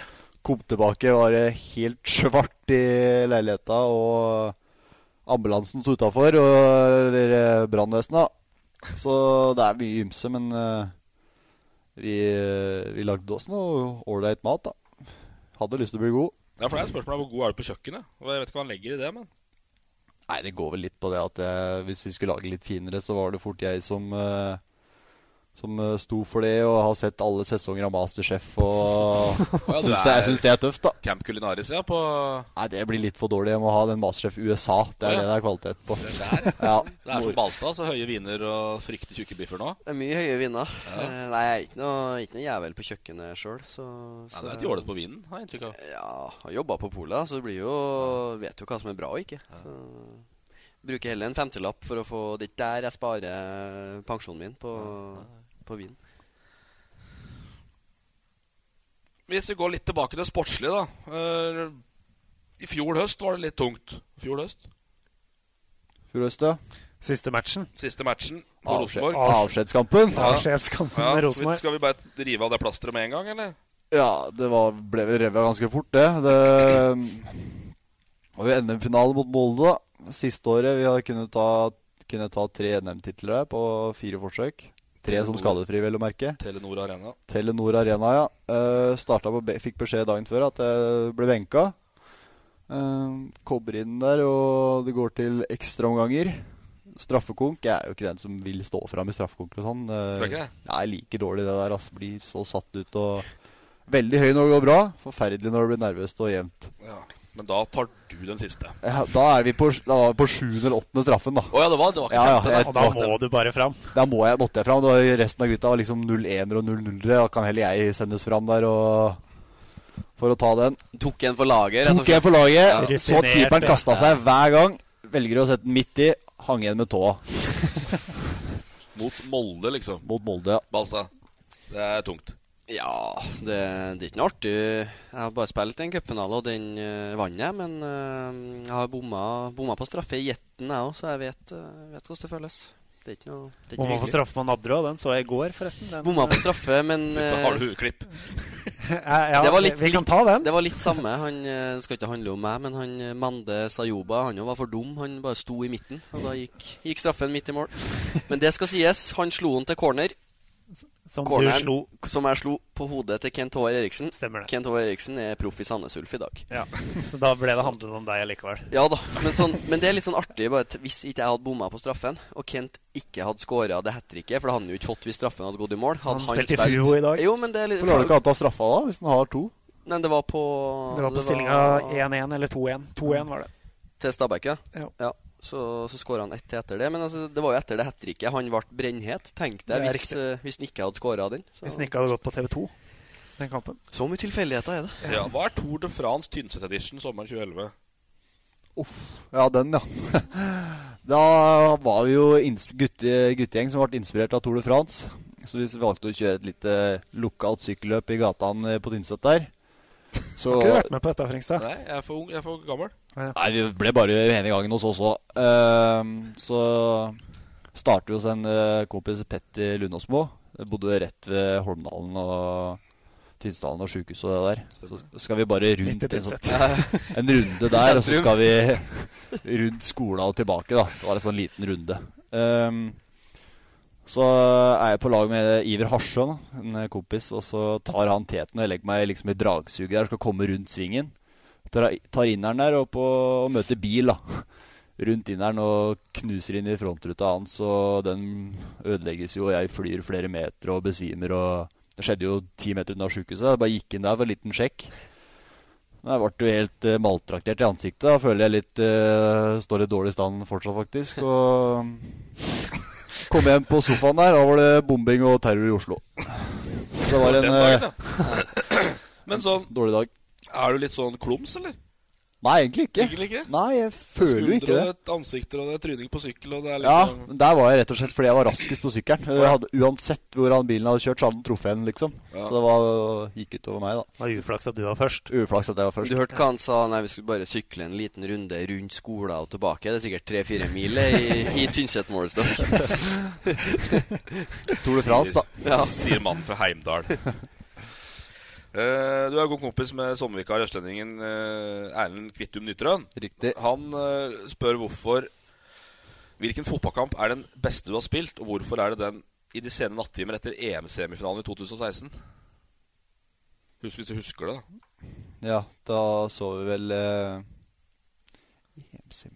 [SPEAKER 4] Kom tilbake, var det helt svart i leiligheta, og ambulansen sto utafor. Eller eh, brannvesenet, da. Så det er mye ymse, men eh, vi, eh, vi lagde også noe ålreit mat, da. Hadde lyst til å bli god.
[SPEAKER 1] Ja, for det er et spørsmål om Hvor god er du på kjøkkenet? Og Jeg vet ikke hva han legger i det, men
[SPEAKER 4] Nei, det går vel litt på det at jeg, hvis vi skulle lage litt finere, så var det fort jeg som eh, som eh, sto for det, og har sett alle sesonger av Masterchef og
[SPEAKER 1] ja, du
[SPEAKER 4] syns, det,
[SPEAKER 1] er-
[SPEAKER 4] jeg syns det er tøft, da.
[SPEAKER 1] Camp Culinaris, ja. På
[SPEAKER 4] Nei, det blir litt for dårlig. Jeg må ha den Masterchef USA. Det
[SPEAKER 1] Å,
[SPEAKER 4] er
[SPEAKER 1] ja.
[SPEAKER 4] det det er kvalitet på.
[SPEAKER 1] det der.
[SPEAKER 4] Ja,
[SPEAKER 1] Det er
[SPEAKER 4] hvor-
[SPEAKER 1] som Balstad, så høye viner og fryktelig tjukke biffer nå.
[SPEAKER 2] Det er mye høye viner. Eh, Nei, jeg er ikke noe, ikke noe jævel på kjøkkenet sjøl, så,
[SPEAKER 1] Nei,
[SPEAKER 2] så
[SPEAKER 1] Du er et jålet på vinen, har jeg inntrykk av.
[SPEAKER 2] Ja, har jobba på polet, så du blir jo Vet jo hva som er bra og ikke. Så bruker heller en femtilapp for å få Det er ikke der jeg sparer pensjonen min, på, på vin.
[SPEAKER 1] Hvis vi går litt tilbake til det sportslige, da. eh, I fjor høst var det litt tungt. Fjor høst.
[SPEAKER 4] Fjordøst, ja.
[SPEAKER 3] siste matchen?
[SPEAKER 1] Siste matchen på
[SPEAKER 4] Avskjed-
[SPEAKER 1] Rosenborg.
[SPEAKER 4] Avskjedskampen.
[SPEAKER 3] Avskjedskampen
[SPEAKER 1] Ja,
[SPEAKER 3] med
[SPEAKER 1] så vi-
[SPEAKER 3] Rosenborg?
[SPEAKER 1] skal vi bare rive av det plasteret med en gang, eller?
[SPEAKER 4] Ja, det var, ble vel revet ganske fort, det. Det var jo NM-finale mot Molde, da. Siste året vi har kunnet ta, kunne ta tre NM-titler her på fire forsøk. Tre som skadefri, vel å merke.
[SPEAKER 1] Telenor Arena.
[SPEAKER 4] Telenor Arena, ja. Eh, starta på, be- fikk beskjed dagen før at jeg ble benka. Eh, kobber inn der, og det går til ekstraomganger. Straffekonk. Jeg er jo ikke den som vil stå fram i straffekonker og sånn.
[SPEAKER 1] Tror jeg ikke det.
[SPEAKER 4] Nei, like dårlig det der. Altså, blir så satt ut og Veldig høy når det går bra. Forferdelig når det blir nervøst og jevnt.
[SPEAKER 1] Ja. Men da tar du den siste. Å
[SPEAKER 4] Ja, da er vi på, da var vi på sjuende eller åttende straffen, da.
[SPEAKER 1] ja, det var, det var ikke
[SPEAKER 4] Ja, ja,
[SPEAKER 1] femte,
[SPEAKER 4] jeg-
[SPEAKER 3] Og da må du bare fram.
[SPEAKER 4] Da må jeg, måtte jeg fram. Da resten av gutta var liksom 0-1-ere og 0-0-ere. Da kan heller jeg sendes fram der og for å ta den.
[SPEAKER 2] Tok en for laget, rett og
[SPEAKER 4] Tok jeg
[SPEAKER 2] slett.
[SPEAKER 4] for laget,
[SPEAKER 3] Ja.
[SPEAKER 4] så at keeperen kasta seg hver gang. Velger å sette den midt i. Hang igjen med tåa
[SPEAKER 1] da. Mot Molde, liksom.
[SPEAKER 4] mot Molde. ja.
[SPEAKER 1] Balstad. Det er tungt.
[SPEAKER 2] Ja, det, det er ikke noe artig. Jeg har bare spilt en cupfinale, og den eh, vant jeg. Men eh, jeg har bomma, bomma på straffe i jetten, jeg òg, så jeg vet, eh, vet hvordan det føles. Det er ikke noe, det er
[SPEAKER 3] Må
[SPEAKER 2] ikke
[SPEAKER 3] man
[SPEAKER 2] noe
[SPEAKER 3] få
[SPEAKER 2] hyggelig.
[SPEAKER 3] straffe på Nadderud? Den så jeg i går, forresten. Den,
[SPEAKER 2] Bomma på straffe, men
[SPEAKER 1] Sitter,
[SPEAKER 2] eh,
[SPEAKER 1] har du klipp?
[SPEAKER 3] ja, ja,
[SPEAKER 2] Det var litt-
[SPEAKER 3] vi kan ta den.
[SPEAKER 2] det var litt samme. Han eh, det skal ikke handle om meg, men han eh, Mande Sayoba han jo var for dum. Han bare sto i midten, og da gikk, gikk straffen midt i mål. Men det skal sies, han slo han til corner,
[SPEAKER 3] Som du
[SPEAKER 2] corneren.
[SPEAKER 3] slo.
[SPEAKER 2] som jeg slo på hodet til Kent Håvard Eriksen.
[SPEAKER 3] Stemmer det.
[SPEAKER 2] Kent Håvard Eriksen er proff i Sandnes Ulf i dag.
[SPEAKER 3] Ja. Så da ble det handlet om deg allikevel.
[SPEAKER 2] Ja da, men, sånn, men det er litt sånn artig. Bare at hvis ikke jeg hadde bomma på straffen, og Kent ikke hadde scora det hat tricket For det hadde han jo ikke fått hvis straffen hadde gått i mål. Hadde
[SPEAKER 3] Han spilte i Fuo i dag.
[SPEAKER 2] Jo, men det er litt
[SPEAKER 4] Hvorfor har du ikke hatt av straffa da, hvis den har to?
[SPEAKER 2] Nei, det var på
[SPEAKER 3] Det var på stillinga 1-1 eller 2-1. 2-1 var det.
[SPEAKER 2] Til Stabæk, ja.
[SPEAKER 6] Ja.
[SPEAKER 2] Så, så skåra han ett til etter det. Men altså, det var jo etter det hat tricket han ble brennhet, tenk
[SPEAKER 3] Det
[SPEAKER 2] deg,
[SPEAKER 3] er
[SPEAKER 2] hvis, eh, hvis han ikke hadde scora den. Så.
[SPEAKER 3] Hvis den ikke hadde gått på TV2, den kampen.
[SPEAKER 2] så mye tilfeldigheter er det.
[SPEAKER 1] Ja, Hva er Tour de France Tynset Edition sommeren 2011?
[SPEAKER 4] Ja, den, ja. Da var vi jo inns- gutte, guttegjeng som ble inspirert av Tour de France. Så vi valgte å kjøre et lite lokalt sykkelløp i gatene på Tynset der. Så
[SPEAKER 3] Har ikke du vært med på dette, Fringstad?
[SPEAKER 1] Nei, jeg er for ung. Jeg er for gammel.
[SPEAKER 4] Nei, vi ble bare uenige i gangen hos oss òg. så starter vi hos en eh, kompis, Petter Lundåsmo. Bodde rett ved Holmdalen og Tinsdalen og sjukehuset og det der. Så skal vi bare rundt
[SPEAKER 3] Midt i
[SPEAKER 4] en, sånn,
[SPEAKER 3] Tynset.
[SPEAKER 4] en runde
[SPEAKER 3] I
[SPEAKER 4] der, og så
[SPEAKER 3] sentrum.
[SPEAKER 4] skal vi rundt skolen og tilbake, da. Det var en sånn liten runde. Ehm, så er jeg på lag med Iver Harsjøen, en kompis, og så tar han teten og jeg legger meg liksom i dragsuget der og skal komme rundt svingen. Tar, tar inneren der opp og, og møter bil, da. Rundt inneren og knuser inn i frontruta hans, og den ødelegges jo, og jeg flyr flere meter og besvimer og Det skjedde jo ti meter unna sjukehuset. Jeg bare gikk inn der for en liten sjekk. Jeg ble jo helt eh, maltraktert i ansiktet. Da føler jeg litt eh, Står litt dårlig i stand fortsatt, faktisk. Og kom hjem på sofaen der, da var det bombing og terror i Oslo. Så det var en
[SPEAKER 1] Den dagen,
[SPEAKER 4] eh,
[SPEAKER 1] ja. Men sånn
[SPEAKER 4] dårlig dag.
[SPEAKER 1] Er du litt sånn klums, eller?
[SPEAKER 4] Nei, egentlig ikke.
[SPEAKER 1] Egentlig ikke?
[SPEAKER 4] Nei, jeg føler jo ikke det.
[SPEAKER 1] Skuldre og det er ansikter, og det er tryning på sykkel, og det er
[SPEAKER 4] Ja,
[SPEAKER 1] liksom
[SPEAKER 4] men der var jeg rett og slett fordi jeg var raskest på sykkelen. Jeg hadde, uansett hvor han bilen hadde kjørt, så hadde han truffet henne, liksom.
[SPEAKER 1] Ja.
[SPEAKER 4] Så det var, gikk utover meg, da.
[SPEAKER 3] Det var uflaks at du var først.
[SPEAKER 4] Uflaks at jeg var først.
[SPEAKER 2] Du hørte hva han sa? Nei, vi skulle bare sykle en liten runde rundt skolen og tilbake. Det er sikkert tre-fire mil i, i Tynset målestokk.
[SPEAKER 4] Tour de France, da.
[SPEAKER 1] Ja. Sier mannen fra Heimdal. Eh, du er god kompis med sommervikar østlendingen eh, Erlend Kvittum Nytrøen.
[SPEAKER 4] Riktig
[SPEAKER 1] Han eh, spør hvorfor Hvilken fotballkamp er den beste du har spilt, og hvorfor er det den i de sene nattimer etter EM-semifinalen i 2016? Husk hvis du husker det, da.
[SPEAKER 4] Ja, da så vi vel eh, i hjemsim-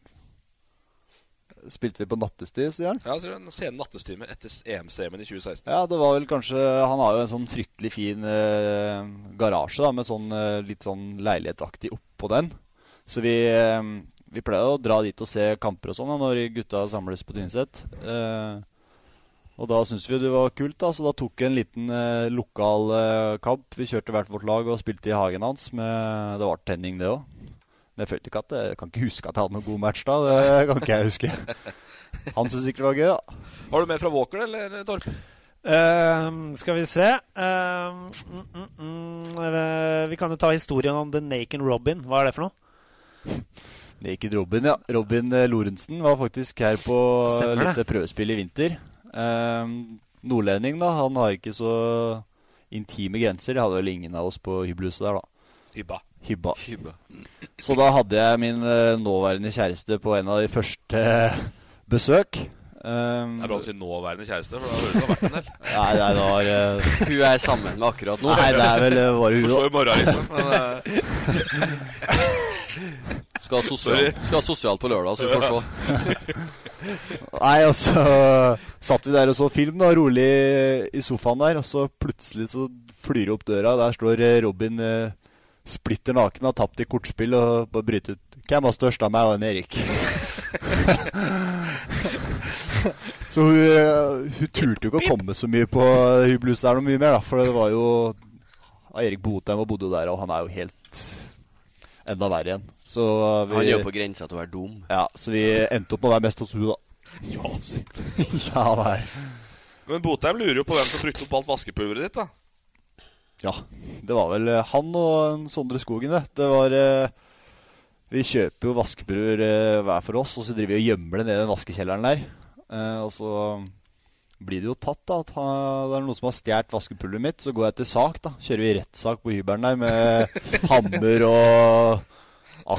[SPEAKER 4] Spilte vi på nattestid, sier han?
[SPEAKER 1] Ja, sier du, Den sene nattestime etter EM-semien i 2016.
[SPEAKER 4] Ja, det var vel kanskje Han har jo en sånn fryktelig fin eh, garasje da, med sånn eh, litt sånn leilighetaktig oppå den. Så vi, eh, vi pleier å dra dit og se kamper og sånn da, når gutta samles på Tynset. Eh, og da syntes vi det var kult, da, så da tok vi en liten eh, lokal eh, kamp. Vi kjørte hvert vårt lag og spilte i hagen hans. Med, det var tenning, det òg. Men jeg følte ikke at Jeg kan ikke huske at jeg hadde noen god match da. Det kan ikke jeg huske. Han syntes sikkert det var gøy, da.
[SPEAKER 1] Har du mer fra Walker eller Torp?
[SPEAKER 3] Ehm, skal vi se Ehm, mm, mm, mm, eh, Vi kan jo ta historien om The Naken Robin. Hva er det for noe?
[SPEAKER 4] Naked Robin, ja. Robin eh, Lorentzen var faktisk her på
[SPEAKER 3] Stemmer det.
[SPEAKER 4] litt prøvespill i vinter. Ehm, nordlending, da. Han har ikke så intime grenser. Det hadde vel ingen av oss på hybelhuset der, da.
[SPEAKER 1] Hybba.
[SPEAKER 4] Hybba.
[SPEAKER 2] Hybba.
[SPEAKER 4] Så da hadde jeg min eh, nåværende kjæreste på en av de første eh, besøk. Ehm,
[SPEAKER 1] Det er bra å si nåværende kjæreste, for da høres det ut som det har vært en del.
[SPEAKER 4] Nei, nei, det var eh,
[SPEAKER 2] Hun er sammen med akkurat nå.
[SPEAKER 4] Nei, det er vel eh, bare hun.
[SPEAKER 1] Forstår
[SPEAKER 4] da.
[SPEAKER 1] i morgen, liksom. Men, eh.
[SPEAKER 2] Skal ha sosial,
[SPEAKER 1] Sorry.
[SPEAKER 2] skal ha sosial på lørdag, så vi får se.
[SPEAKER 4] Nei, og så satt vi der og så film, da, rolig i sofaen der, og så plutselig så flyr det opp døra, og der står eh, Robin eh, splitter naken, har tapt i kortspill og bare bryter ut. Hvem var størst av meg og en Erik? så hun, eh, hun turte jo ikke å komme så mye på hybelhuset der noe mye mer, da, for det var jo Erik Botheim og bodde jo der, og han er jo helt enda verre igjen. Så eh, vi,
[SPEAKER 2] Han er jo på grensa til å være dum.
[SPEAKER 4] ja, så vi endte opp med å være mest hos hun da.
[SPEAKER 1] Ja, si.
[SPEAKER 4] ja, der.
[SPEAKER 1] Men Botheim lurer jo på hvem som brukte opp alt vaskepulveret ditt, da.
[SPEAKER 4] Ja, det var vel eh, han og en Sondre Skogen, det. Det var eh, Vi kjøper jo vaskepulver eh, hver for oss, og så driver vi og gjemmer det nede i den vaskekjelleren der. Eh, og så blir det jo tatt, da. At han, det er noen som har stjålet vaskepulveret mitt. Så går jeg til sak, da. Kjører vi rettssak på hybelen der med hammer og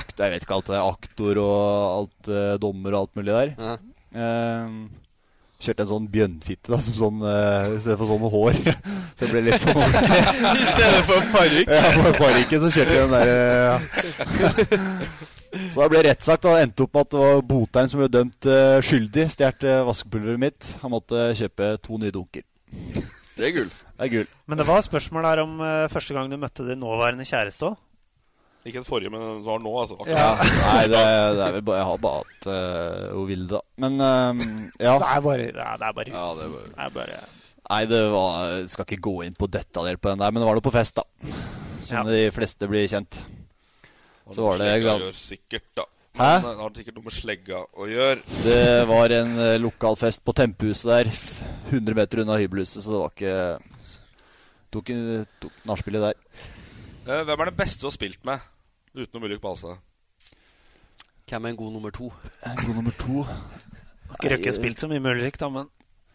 [SPEAKER 4] akt, Jeg vet ikke alt det er. Aktor og alt eh, dommer og alt mulig der. Eh, Kjørte en sånn bjønnfitte da, som sånn, eh, i stedet for sånne hår. Så det ble litt sånn
[SPEAKER 2] I stedet for parykk.
[SPEAKER 4] Ja, for parykken så kjørte jeg den der eh, ja. Så det ble rettssak. da. Det Endte opp med at det var Botheim som ble dømt eh, skyldig. Stjålet eh, vaskepulveret mitt. Han måtte kjøpe to nye dunker.
[SPEAKER 2] Det er gull.
[SPEAKER 4] Det er gull.
[SPEAKER 3] Men det var spørsmål her om eh, første gang du møtte din nåværende kjæreste òg.
[SPEAKER 1] Ikke den forrige, men den du har nå, altså.
[SPEAKER 3] Ja.
[SPEAKER 4] Nei, det, det er vel bare Jeg har bare hatt eh, hun ville, da. Men eh, ja.
[SPEAKER 3] Det er bare det er, det er bare,
[SPEAKER 2] Ja, det var...
[SPEAKER 3] det er bare
[SPEAKER 4] Nei, det var Skal ikke gå inn på detaljer på den der, men det var noe på fest, da. Som de fleste blir kjent. Så var det
[SPEAKER 1] Slegga gjør sikkert, da. Men
[SPEAKER 2] eh,
[SPEAKER 4] Hæ?
[SPEAKER 1] det har sikkert noe med slegga å gjøre.
[SPEAKER 4] Det var en eh, lokal fest på Tempehuset der, f- 100 meter unna hybelhuset, så det var ikke Tok, en- tok nachspielet der.
[SPEAKER 1] Eh, Hvem er den beste du har spilt med? Utenom Ulrik Balstad.
[SPEAKER 2] Hvem er en god nummer to?
[SPEAKER 4] God nummer to.
[SPEAKER 3] Har ikke Røkke
[SPEAKER 4] Nei,
[SPEAKER 3] spilt så mye med Ulrik, da, men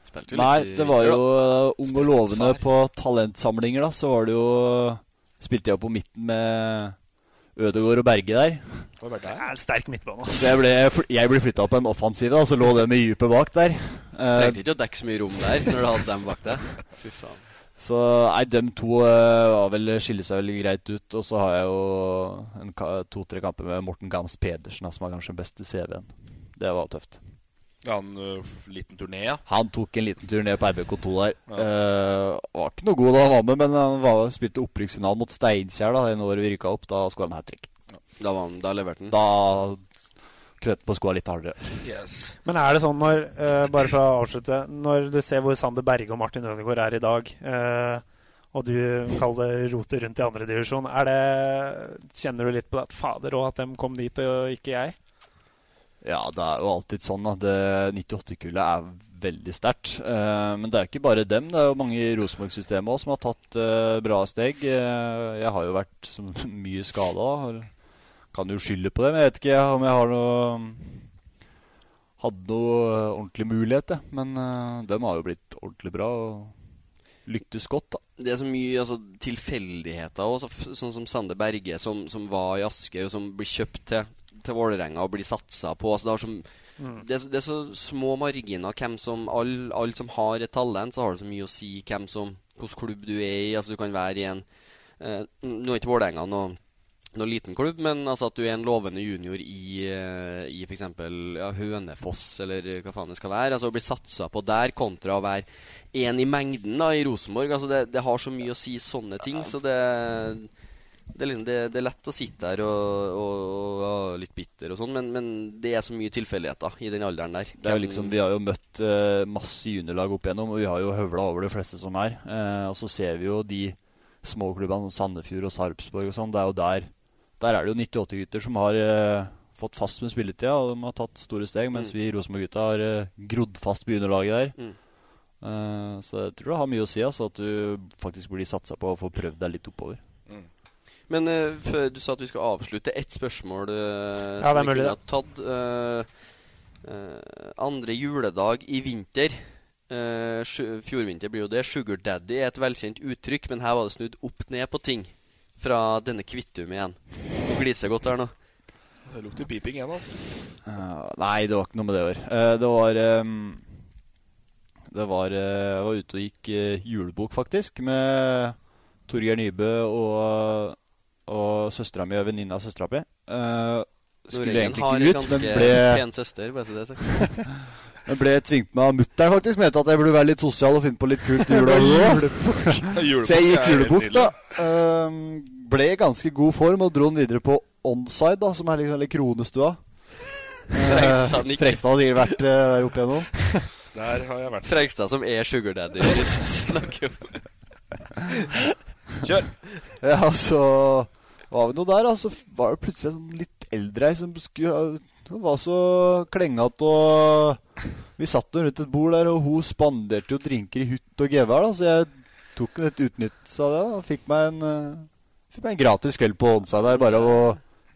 [SPEAKER 2] Spilte jo litt
[SPEAKER 4] Nei,
[SPEAKER 2] i-
[SPEAKER 4] det var jo
[SPEAKER 2] Ja.
[SPEAKER 4] eh, ung og lovende på talentsamlinger, da. Så var det jo Spilte jeg jo på midten med Ødegaard og Berge der.
[SPEAKER 3] Det er en sterk midtbane. ass.
[SPEAKER 4] Så jeg ble, jeg ble flytta på en offensiv, da, så lå det med dypet bak der. Eh,
[SPEAKER 2] Trengte ikke å dekke så mye rom der når du hadde dem bak deg. Fy faen.
[SPEAKER 4] Så nei, dem to eh, var vel, skiller seg vel greit ut. Og så har jeg jo en ka- to-tre kamper med Morten Gams Pedersen, da, som har kanskje den beste CV-en. Det var tøft.
[SPEAKER 1] Ja, en ø, liten turné, ja.
[SPEAKER 4] Han tok en liten tur ned på RBK2 der. Eh, var ikke noe god da han var med, men han var, spilte opprykksfinalen mot Steinkjer da når vi rykka opp. Da skåra han hat trick.
[SPEAKER 2] Da, var han- da leverte han.
[SPEAKER 4] Da knøt han på skoa litt hardere.
[SPEAKER 1] Yes.
[SPEAKER 3] Men er det sånn når eh, Bare for å avslutte. Når du ser hvor Sander Berge og Martin Ødegaard er i dag, eh, og du kaller det roter rundt i andredivisjon, kjenner du litt på det at fader òg, at de kom dit og ikke jeg?
[SPEAKER 4] Ja, det er jo alltid sånn at 98-kullet er veldig sterkt. Eh, men det er jo ikke bare dem. Det er jo mange i Rosenborg-systemet òg som har tatt eh, bra steg. Eh, jeg har jo vært så mye skada. Kan jo skylde på det, men jeg vet ikke om jeg har noe Hadde noe eh, ordentlig mulighet, jeg. Men eh, dem har jo blitt ordentlig bra og lyktes godt, da.
[SPEAKER 2] Det er så mye altså, tilfeldigheter også, f- sånn som Sander Berge, som, som var i Asker, og som blir kjøpt til, til Vålerenga og blir satsa på. Altså, det, har så,
[SPEAKER 3] Mm.
[SPEAKER 2] det, er, så- det er så små marginer. Hvem som, all, alle som har et talent, så har det så mye å si hvem som, hvilken klubb du er i. Altså, du kan være i en eh, Nå er ikke Vålerenga noe, noe liten klubb, men altså, at du er en lovende junior i, eh, i f.eks. Ja, Hønefoss, eller hva faen det skal være. Altså, å bli satsa på der kontra å være én i mengden da, i Rosenborg. Altså, det, det har så mye å si sånne ting, så det det er, liksom, det, det er lett å sitte her og, og, og være litt bitter og sånn, men, men det er så mye tilfeldigheter i den alderen der.
[SPEAKER 4] Det er jo
[SPEAKER 2] Hvem-
[SPEAKER 4] liksom, vi har jo møtt eh, masse juniorlag opp igjennom, og vi har jo høvla over de fleste som er. Eh, og så ser vi jo de småklubbene som Sandefjord og Sarpsborg og sånn. Det er jo der Der er det jo 98-gutter som har eh, fått fast med spilletida, og de har tatt store steg, mens vi Rosenborg-gutta har eh, grodd fast på juniorlaget der.
[SPEAKER 2] Mm.
[SPEAKER 4] Eh, så jeg tror det har mye å si, altså, at du faktisk blir satsa på og får prøvd deg litt oppover.
[SPEAKER 2] Men eh, før du sa at vi skulle avslutte, ett spørsmål
[SPEAKER 3] Ja,
[SPEAKER 2] eh, som
[SPEAKER 3] det er
[SPEAKER 2] vi
[SPEAKER 3] mulig,
[SPEAKER 2] kunne ha tatt. Eh, eh, andre juledag i vinter. Eh, sju- fjordvinter blir jo det. Sugar daddy er et velkjent uttrykk, men her var det snudd opp ned på ting. Fra denne Kvittum igjen. Du gliser godt her nå.
[SPEAKER 1] Det lukter piping igjen, altså.
[SPEAKER 4] Eh, nei, det var ikke noe med det å gjøre. Eh, det var ehm, Det var eh, Jeg var ute og gikk eh, julebok, faktisk, med Torgeir Nybø og, og søstera mi og venninna av søstera mi. Eh, skulle
[SPEAKER 2] Nordengen
[SPEAKER 4] egentlig
[SPEAKER 2] har
[SPEAKER 4] ikke ut,
[SPEAKER 2] ganske
[SPEAKER 4] men ble,
[SPEAKER 2] pen søster, bare så det er sagt.
[SPEAKER 4] men ble tvingt med av mutter'n, faktisk. Mente at jeg burde være litt sosial og finne på litt kult i jula.
[SPEAKER 1] Julebok
[SPEAKER 4] Så jeg
[SPEAKER 1] er
[SPEAKER 4] gikk
[SPEAKER 1] helt
[SPEAKER 4] julebok,
[SPEAKER 1] nydelig.
[SPEAKER 4] da. Ehm, ble i ganske god form og dro den videre på onside, da, som er liksom hele kronestua.
[SPEAKER 2] Frekstad
[SPEAKER 4] Eh,
[SPEAKER 2] nikker.
[SPEAKER 4] Frekstad har sikkert vært eh, der oppe igjennom.
[SPEAKER 1] Der har jeg vært.
[SPEAKER 2] Fregstad som er sugar daddy. snakker om.
[SPEAKER 1] Kjør!
[SPEAKER 4] Ja, så var vi nå der, da. Så var det plutselig en sånn litt eldre ei som skulle Hun var så klengete og Vi satt nå rundt et bord der, og hun spanderte jo drinker i hutt og gevær, da, så jeg tok litt utnyttelse av det. da, og Fikk meg en eh, Fikk meg en gratis kveld på Onside der, bare av å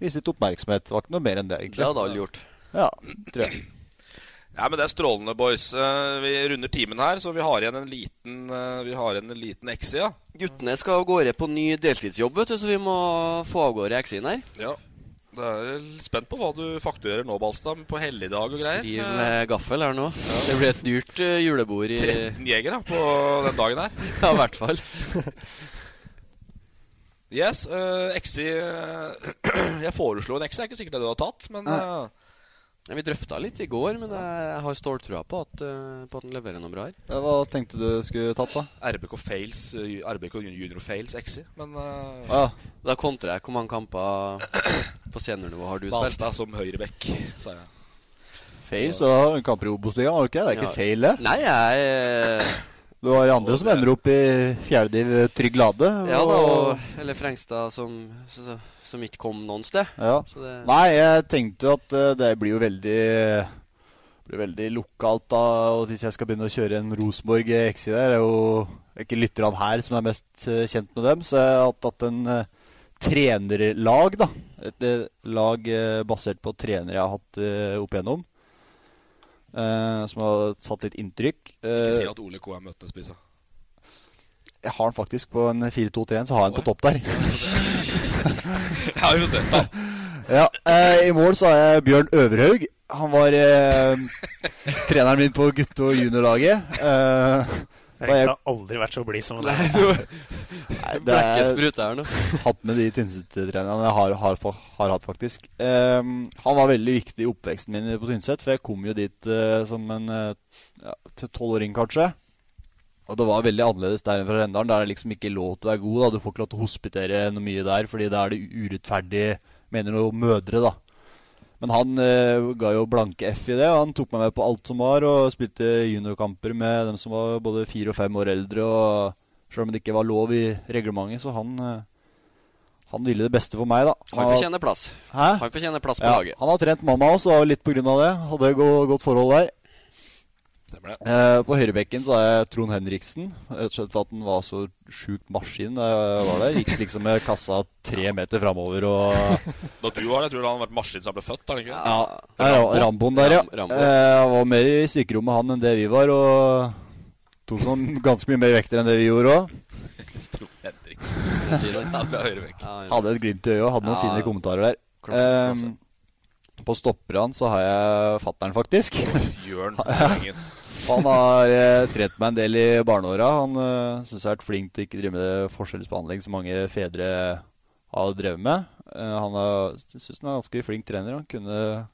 [SPEAKER 4] vise litt oppmerksomhet. Det var ikke noe mer enn det, egentlig.
[SPEAKER 1] Det hadde alle gjort.
[SPEAKER 4] Ja, tror jeg.
[SPEAKER 1] Ja, men Det er strålende, boys. Eh, Vi runder timen her, så vi har igjen en liten eh, Vi har igjen en liten ekse, ja.
[SPEAKER 2] Guttene skal av gårde på ny deltidsjobb, vet du, så vi må få av gårde eksen her.
[SPEAKER 1] ja. Det er litt spent på hva du fakturerer nå, Balstad. På helligdag og greier.
[SPEAKER 2] Skriv
[SPEAKER 1] Eh,
[SPEAKER 2] med gaffel her nå. Det blir et dyrt eh, julebord i
[SPEAKER 1] 13 jegere på den dagen her.
[SPEAKER 2] Ja, i hvert fall.
[SPEAKER 1] Yes. eh, Eksi eh, Jeg foreslo en eksi. Det er ikke sikkert det du har tatt, men
[SPEAKER 2] Nei.
[SPEAKER 1] eh,
[SPEAKER 2] Nei, Vi drøfta litt i går, men jeg jeg har ståltrua på at, eh, på at den leverer noe bra her.
[SPEAKER 4] Ja, Hva tenkte du skulle tatt, da?
[SPEAKER 1] RBK fails eh, RBK junior fails eksi, men eh,
[SPEAKER 2] Da kontrer jeg. Hvor mange kamper på seniornivå har du spilt?
[SPEAKER 1] Balstad som høyrebekk, sa jeg.
[SPEAKER 4] Fail, så har du en kamp i Obos-ligaen, har du ikke? Det er ikke
[SPEAKER 2] Ja.
[SPEAKER 4] feil, det.
[SPEAKER 2] Nei, jeg eh,
[SPEAKER 4] Du har andre som ender opp i fjerdediv Trygg Lade.
[SPEAKER 2] Ja da, og, eller Frengstad som, så- så- som ikke kom noen sted.
[SPEAKER 4] Ja.
[SPEAKER 2] Så det-
[SPEAKER 4] Nei, jeg tenkte jo at eh, det blir jo veldig blir veldig lokalt da. Og hvis jeg skal begynne å kjøre en Rosenborg XI der, er jo ikke lytterne her som er mest eh, kjent med dem. Så jeg har tatt en eh, trenerlag, da. Et eh, lag eh, basert på trenere jeg har hatt eh, opp igjennom. eh, som har satt litt inntrykk.
[SPEAKER 1] Ikke si
[SPEAKER 4] Eh,
[SPEAKER 1] at Ole K er møtespissa.
[SPEAKER 4] jeg har den faktisk på en 4-2-3-1, så har jeg den på topp der.
[SPEAKER 1] Jeg har jo sett han.
[SPEAKER 4] Ja, eh, I mål så har jeg Bjørn Øverhaug. Han var eh, treneren min på gutte- og juniorlaget. Eh, da jeg-
[SPEAKER 3] Fredrikstad har aldri vært så blid som han
[SPEAKER 4] Nei,
[SPEAKER 3] er.
[SPEAKER 4] Nei, det
[SPEAKER 2] Blekke
[SPEAKER 4] er-
[SPEAKER 2] spruter her nå.
[SPEAKER 4] hatt med de Tynset-trenerne jeg har, har, fa- har hatt, faktisk. Ehm, han var veldig viktig i oppveksten min på Tynset, for jeg kom jo dit eh, som en eh, ja, til tolvåring, kanskje. Og det var veldig annerledes der enn fra Rendalen. Der er det liksom ikke lov til å være god. da Du får ikke lov til å hospitere noe mye der, fordi da er det u- urettferdig, mener noen mødre, da. Men han eh, ga jo blanke F i det, og han tok meg med på alt som var, og spilte juniorkamper med dem som var både fire og fem år eldre, og selv om det ikke var lov i reglementet, så han eh, han ville det beste for meg, da.
[SPEAKER 2] Han fortjener plass.
[SPEAKER 4] Hæ?
[SPEAKER 2] Han fortjener plass på
[SPEAKER 4] Ja,
[SPEAKER 2] laget.
[SPEAKER 4] han har trent mamma også, det var jo litt på grunn av det. Hadde et go- godt forhold der. Eh, på høyrebekken så har jeg Trond Henriksen. Rett og slett for at han var så sjukt maskin da jeg var der. Gikk liksom med kassa tre meter framover og
[SPEAKER 1] Da du var der, tror jeg han har vært maskin siden han ble født? Har han ikke?
[SPEAKER 4] Ja, Rambo. Ramboen der, ja.
[SPEAKER 1] Ram- Rambo.
[SPEAKER 4] Eh, var mer i styrkerommet han enn det vi var, og tok noen ganske mye mer vekter enn det vi gjorde òg.
[SPEAKER 1] Trond Henriksen. Han ble høyrevekt.
[SPEAKER 4] Hadde et glimt i øyet og hadde noen
[SPEAKER 1] Ja.
[SPEAKER 4] fine kommentarer der.
[SPEAKER 1] Klasse, klasse.
[SPEAKER 4] Ehm, på stopperne så har jeg fattern, faktisk.
[SPEAKER 1] Jørn
[SPEAKER 4] Ja.
[SPEAKER 1] Engen.
[SPEAKER 4] han har eh, trent meg en del i barneåra. Han eh, syns jeg har vært flink til ikke drive med forskjellsbehandling som mange fedre har drevet med. Eh, han er- jeg synes han er en ganske flink trener. Han kunne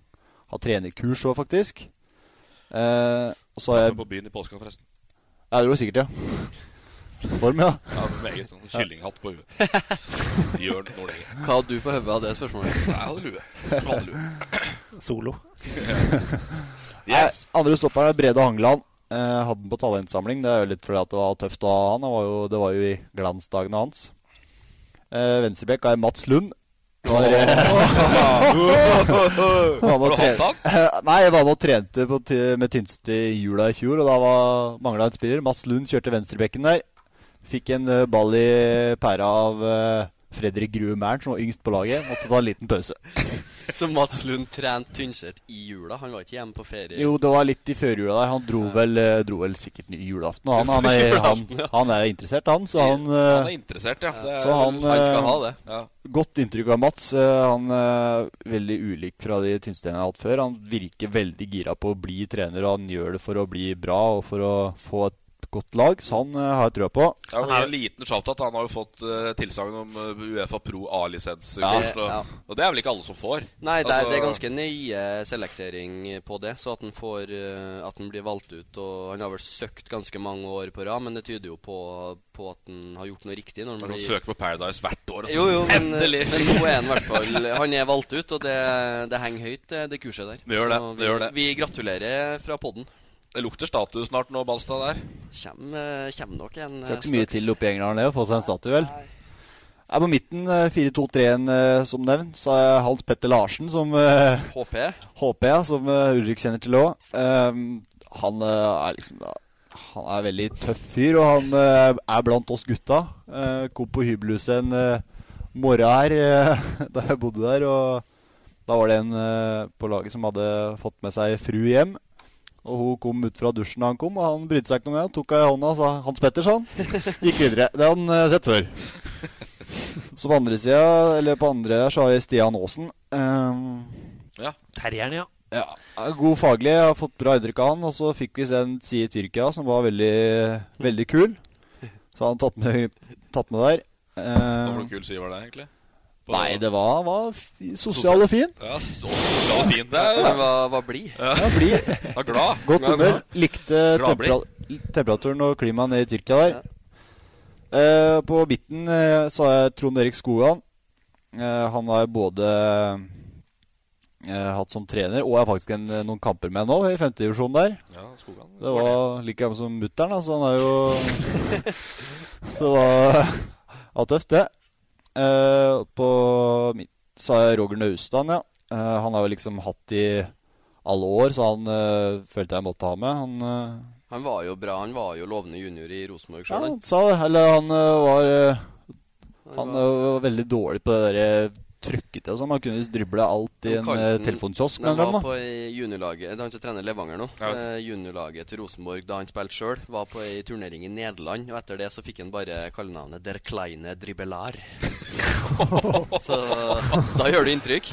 [SPEAKER 4] ha trenerkurs òg, faktisk. Eh, og så har jeg
[SPEAKER 1] På byen i påska, forresten.
[SPEAKER 4] Ja, det gjorde du sikkert, ja. Form, ja.
[SPEAKER 1] Ja, meget sånn kyllinghatt på huet. Jørn Nordengen.
[SPEAKER 2] Hva hadde du på hodet av det spørsmålet?
[SPEAKER 1] Jeg hadde lue. Vanlig lue.
[SPEAKER 3] Solo.
[SPEAKER 4] Nei, Eh, Andre stopper er Brede Hangeland. Eh, hadde den på talentsamling. Det er jo litt fordi at det var tøft å ha han. han var jo, det var jo i glansdagene hans. Eh, Venstrebekk er Mats Lund. Var, eh,
[SPEAKER 1] Åh!
[SPEAKER 4] var med og
[SPEAKER 1] Har du
[SPEAKER 4] tre-
[SPEAKER 1] hatt
[SPEAKER 4] Eh, Nei, jeg var med og trente på, ty- med Tynset i jula i fjor, og da var- mangla en spiller. Mats Lund kjørte venstrebekken der. Fikk en eh, ball i pæra av eh, Fredrik Grue Mæren, som var yngst på laget. Måtte ta en liten pause.
[SPEAKER 2] Så Mats Lund trente Tynset i jula? Han var ikke hjemme på ferie?
[SPEAKER 4] Jo, det var litt i førjula der. Han dro vel, eh, dro vel sikkert i julaften. Og han, han, er, han,
[SPEAKER 2] Julaften, ja.
[SPEAKER 4] han er interessert, han. Så han,
[SPEAKER 1] Han er
[SPEAKER 4] eh,
[SPEAKER 1] interessert, ja. Det er-
[SPEAKER 4] så han,
[SPEAKER 1] Han skal
[SPEAKER 4] eh,
[SPEAKER 1] ha det. Ja.
[SPEAKER 4] Godt inntrykk av Mats. Eh, Han er veldig ulik fra de tynnsteinene jeg har hatt før. Han virker veldig gira på å bli trener, og han gjør det for å bli bra og for å få et godt lag. Så han eh, har jeg trua på.
[SPEAKER 1] Ja, men det er en liten shout-out. Han har jo fått eh, tilsagn om eh, Uefa pro A-lisens.
[SPEAKER 2] Ja,
[SPEAKER 1] og,
[SPEAKER 2] ja.
[SPEAKER 1] og det er vel ikke alle som får?
[SPEAKER 2] Nei, det er,
[SPEAKER 1] Altså,
[SPEAKER 2] det er ganske nøye selektering på det, så at han, får, eh, at han blir valgt ut. og Han har vel søkt ganske mange år på rad, men det tyder jo på, på at han har gjort noe riktig. Når
[SPEAKER 1] Han
[SPEAKER 2] han blir...
[SPEAKER 1] søker på Paradise hvert år. og så-
[SPEAKER 2] Jo, jo, men, eh,
[SPEAKER 1] Endelig!
[SPEAKER 2] men nå er han i hvert fall Han er valgt ut, og det, det henger høyt, det, det kurset der.
[SPEAKER 1] Det gjør det,
[SPEAKER 2] Så vi,
[SPEAKER 1] det gjør det.
[SPEAKER 2] vi gratulerer fra podden.
[SPEAKER 1] Det lukter status snart nå, Balstad der.
[SPEAKER 2] Kjem, eh, kjem nok en
[SPEAKER 4] Skal
[SPEAKER 2] eh,
[SPEAKER 4] ikke mye
[SPEAKER 2] straks.
[SPEAKER 4] til oppe i England det, å få seg en statue, vel? Jeg er på midten, eh, 4-2-3-en eh, som nevnt. Så er jeg Hans Petter Larsen som eh,
[SPEAKER 2] HP.
[SPEAKER 4] HP, ja, som eh, Ulrik kjenner til òg. han eh, er liksom ja, Han er veldig tøff fyr, og han eh, er blant oss gutta. Eh, kom på hybelhuset en eh, morgen her eh, da jeg bodde der, og da var det en eh, på laget som hadde fått med seg fru hjem. Og hun kom ut fra dusjen da han kom, og han brydde seg ikke noe med det. Tok henne i hånda og sa 'Hans Petter', sa han. Gikk videre. Det har han eh, sett før. Så på andre sida, eller på andre her, så har jeg Stian Aasen. Um,
[SPEAKER 1] Ja.
[SPEAKER 3] Terrieren, ja.
[SPEAKER 4] ja, god faglig. Jeg har fått bra inntrykk av han. Og så fikk vi se en side i Tyrkia som var veldig, veldig kul. Så han tatt med, tatt med
[SPEAKER 1] Hva
[SPEAKER 4] der.
[SPEAKER 1] for
[SPEAKER 4] Eh,
[SPEAKER 1] noen kul sider var det, egentlig? På-
[SPEAKER 4] nei, det var, var f- sosial og fin.
[SPEAKER 1] Ja, så så fint det er.
[SPEAKER 2] Han var, var blid.
[SPEAKER 4] Ja, blid.
[SPEAKER 1] Han er glad. Han
[SPEAKER 4] Godt
[SPEAKER 1] er
[SPEAKER 4] humør.
[SPEAKER 1] glad.
[SPEAKER 4] Likte
[SPEAKER 1] Bra blikk.
[SPEAKER 4] tempera- temperaturen og klimaet nede i Tyrkia der. Eh, på midten eh, så har jeg Trond Erik Skogan. Eh, han har jeg både eh, hatt som trener, og er faktisk en, noen kamper med nå, i femtedivisjon der.
[SPEAKER 1] Ja, Skogan.
[SPEAKER 4] Det var like gammel som mutter'n, da, så han er jo Så det var ja, tøft, det. Eh, på mitt så har jeg Roger Naustdal, ja. Eh, han har jo liksom hatt i alle år, så han eh, følte jeg måtte ha med. Han, eh,
[SPEAKER 2] Han var jo bra. Han var jo lovende junior i Rosenborg
[SPEAKER 4] ja,
[SPEAKER 2] sjøl, han.
[SPEAKER 4] han sa det. Eller han eh, var eh, Han eh, var veldig dårlig på det derre trøkket til og sånn. Han kunne visst drible alt i en eh, telefonkiosk.
[SPEAKER 5] Han
[SPEAKER 4] mener han,
[SPEAKER 5] var
[SPEAKER 4] da.
[SPEAKER 5] på i juniorlaget Det er han som trener Levanger nå.
[SPEAKER 4] Ja.
[SPEAKER 5] Eh, juniorlaget til Rosenborg da han spilte sjøl, var på ei turnering i Nederland. Og etter det så fikk han bare kallenavnet Der Kleine Dribbelar. så da gjør det inntrykk.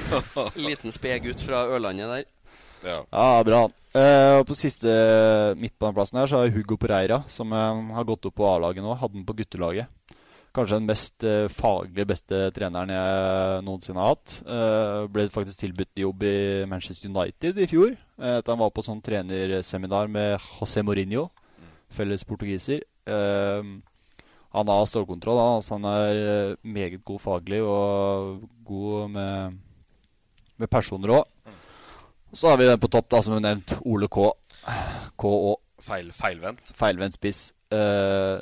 [SPEAKER 5] Liten spedgutt fra Ørlandet der.
[SPEAKER 4] Ja, bra. Eh, og på siste eh, midtbaneplassen her så har Hugo Pereira, som eh, har gått opp på A-laget nå, hadde den på guttelaget. Kanskje den mest eh, faglig beste treneren jeg noensinne har hatt. Eh, ble faktisk tilbudt jobb i Manchester United i fjor. eh, Etter han var på sånn trenerseminar med José Mourinho, felles portugiser. Eh, han har stålkontroll, han. Altså, han er eh, meget god faglig og god med, med personer òg. Så har vi den på topp, da, som vi nevnt. Ole K. KÅ.
[SPEAKER 1] Feil, feilvendt.
[SPEAKER 4] Feilvendt spiss. Eh,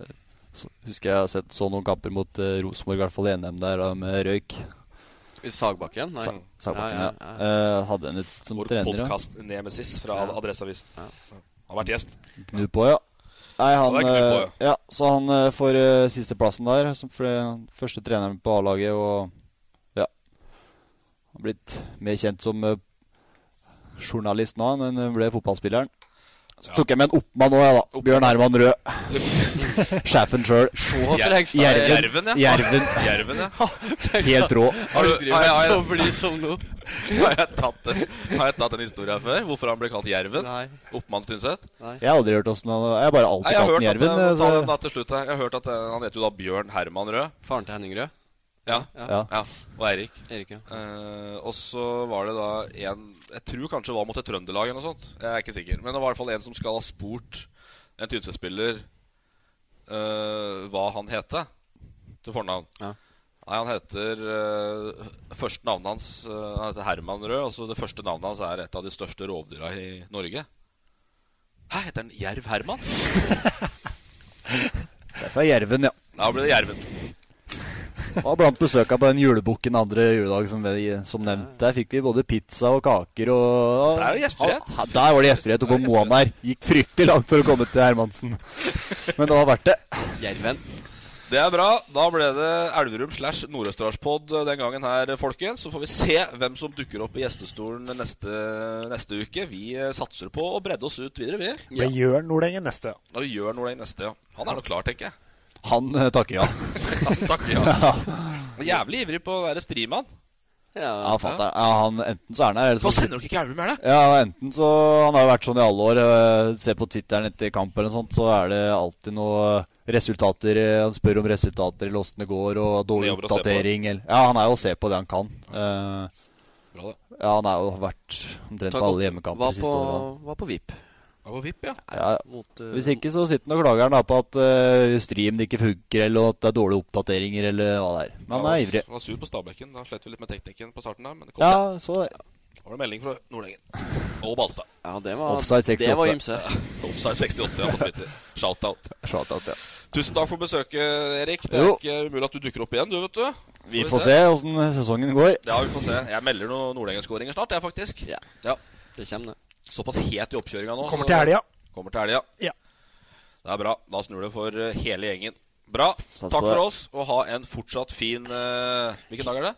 [SPEAKER 4] så husker jeg har sett så noen kamper mot eh, Rosenborg, i hvert fall i NM der, da, med røyk.
[SPEAKER 5] I Sagbakken? Nei.
[SPEAKER 4] Sa Sagbakken,
[SPEAKER 5] Ja,
[SPEAKER 4] ja.
[SPEAKER 5] ja,
[SPEAKER 4] Eh, hadde henne som
[SPEAKER 1] Vår
[SPEAKER 4] trener. ja.
[SPEAKER 1] podkast Nemesis fra Adresseavisen. Han har vært gjest.
[SPEAKER 4] Gnu på, ja. Nei, han,
[SPEAKER 1] Ja, det er gnu på,
[SPEAKER 4] eh, ja. Så han eh, får eh, sisteplassen der, som fl- første treneren på A-laget, og ja Han har blitt mer kjent som eh, journalist nå enn han ble fotballspilleren. Så tok jeg med en oppmann òg, jeg, da. Bjørn Herman Rød. Sjefen sjøl.
[SPEAKER 1] for Hegstad.
[SPEAKER 4] Jerven.
[SPEAKER 1] Jerven, ja.
[SPEAKER 4] Jerven.
[SPEAKER 1] Jerven, ja.
[SPEAKER 4] Helt rå.
[SPEAKER 1] Har du- har jeg- har jeg-
[SPEAKER 5] som nå.
[SPEAKER 1] Har jeg tatt, har jeg tatt den historien før? Hvorfor han ble kalt Jerven? Oppmann Tynset?
[SPEAKER 4] Jeg har aldri hørt åssen han Jeg har
[SPEAKER 1] Nei,
[SPEAKER 4] bare alltid
[SPEAKER 1] jeg har hørt
[SPEAKER 4] kalt
[SPEAKER 1] at,
[SPEAKER 4] han Jerven.
[SPEAKER 1] eh,
[SPEAKER 4] så-
[SPEAKER 1] ta den da til slutt her. Jeg har hørt at eh, han heter jo da Bjørn Herman Rød.
[SPEAKER 5] Faren til Henning Rød?
[SPEAKER 1] Ja.
[SPEAKER 4] Ja.
[SPEAKER 1] ja. Og Eirik.
[SPEAKER 5] Erik, ja.
[SPEAKER 1] Eh, og så var det da en Jeg tror kanskje det var mot et Trøndelag eller noe sånt. Jeg er ikke sikker. Men det var i hvert fall en som skal ha spurt en Tynset-spiller eh, hva han hete til fornavn. Nei, han heter eh, Første navnet hans eh, Han heter Herman Rød. Og så det første navnet hans er et av de største rovdyra i Norge. Hæ, heter han Jerv Herman?
[SPEAKER 4] Derfor er Jerven, ja.
[SPEAKER 1] Da ble det Jerven.
[SPEAKER 4] var blant besøka på den julebukken andre juledag som, vi- som nevnt. Der fikk vi både pizza og kaker og
[SPEAKER 1] Der er det gjestfrihet.
[SPEAKER 4] Ja, Der var det gjestfrihet oppe på Moan der. Gikk fryktelig langt for å komme til Hermansen. Men det var verdt det.
[SPEAKER 5] Jerven.
[SPEAKER 1] Det er bra. Da ble det Elverum slash Nord-Østerdalspod eh, den gangen her, folkens. Så får vi se hvem som dukker opp i gjestestolen neste, neste uke. Vi eh, satser på å bredde oss ut videre, vi.
[SPEAKER 3] Det gjør Nordengen neste.
[SPEAKER 1] Og vi gjør noe i neste, ja. Han er nå klar, tenker jeg.
[SPEAKER 4] Han eh, takker ja.
[SPEAKER 1] Han takker ja. Jævlig ivrig på å være streaman.
[SPEAKER 4] Ja, fatter. Ja, han, enten så er han her, eller så
[SPEAKER 1] Nå sender dere ikke Elverum, er det?
[SPEAKER 4] Ja, enten så Han har jo vært sånn i alle år. eh, Se på Twitteren etter kamp eller sånt, så er det alltid noe eh, resultater eh, Han spør om resultater eller åssen det går, og
[SPEAKER 1] Det
[SPEAKER 4] dårlig
[SPEAKER 1] jobber å se på.
[SPEAKER 4] oppdatering eller Ja, han er jo å se på det han kan. Eh,
[SPEAKER 1] Bra, det.
[SPEAKER 4] ja, han har jo vært
[SPEAKER 2] Ta
[SPEAKER 4] omtrent på alle
[SPEAKER 2] godt-
[SPEAKER 4] hjemmekamper
[SPEAKER 2] var
[SPEAKER 4] de siste årene.
[SPEAKER 2] på, var på VIP.
[SPEAKER 1] Var på VIP, ja.
[SPEAKER 4] Ja,
[SPEAKER 2] mot, eh,
[SPEAKER 4] Hvis ikke så sitter han og klager han da på at eh, streamen ikke funker, eller at det er dårlige oppdateringer, eller hva det er. Men han
[SPEAKER 1] var-
[SPEAKER 4] er ivrig.
[SPEAKER 1] Var sur på Stabækken. Da slet vi litt med teknikken på starten der, men det kom
[SPEAKER 4] Ja,
[SPEAKER 1] seg.
[SPEAKER 4] så det.
[SPEAKER 1] Da var det melding fra Nordengen. Og Balstad.
[SPEAKER 5] Ja, det
[SPEAKER 4] var- Offside 68. det var ymse.
[SPEAKER 1] Offside 68 ja, på Twitter. Shout-out.
[SPEAKER 4] Shout-out, ja.
[SPEAKER 1] Tusen takk for besøket, Erik. Det er
[SPEAKER 4] Jo.
[SPEAKER 1] ikke umulig at du dukker opp igjen, du, vet du.
[SPEAKER 4] Vi får se åssen sesongen går.
[SPEAKER 1] Ja, vi får se. Jeg melder noen nordengenskåringer snart, jeg, faktisk. Ja.
[SPEAKER 5] Det kommer,
[SPEAKER 1] det. Såpass het i oppkjøringa nå.
[SPEAKER 3] Kommer
[SPEAKER 1] så-
[SPEAKER 3] til helga.
[SPEAKER 1] Kommer til helga.
[SPEAKER 3] Ja.
[SPEAKER 1] Det er bra. Da snur det for eh, hele gjengen. Bra.
[SPEAKER 5] Sats på
[SPEAKER 1] Takk for
[SPEAKER 5] det.
[SPEAKER 1] oss, og ha en fortsatt fin eh, Hvilken dag er det?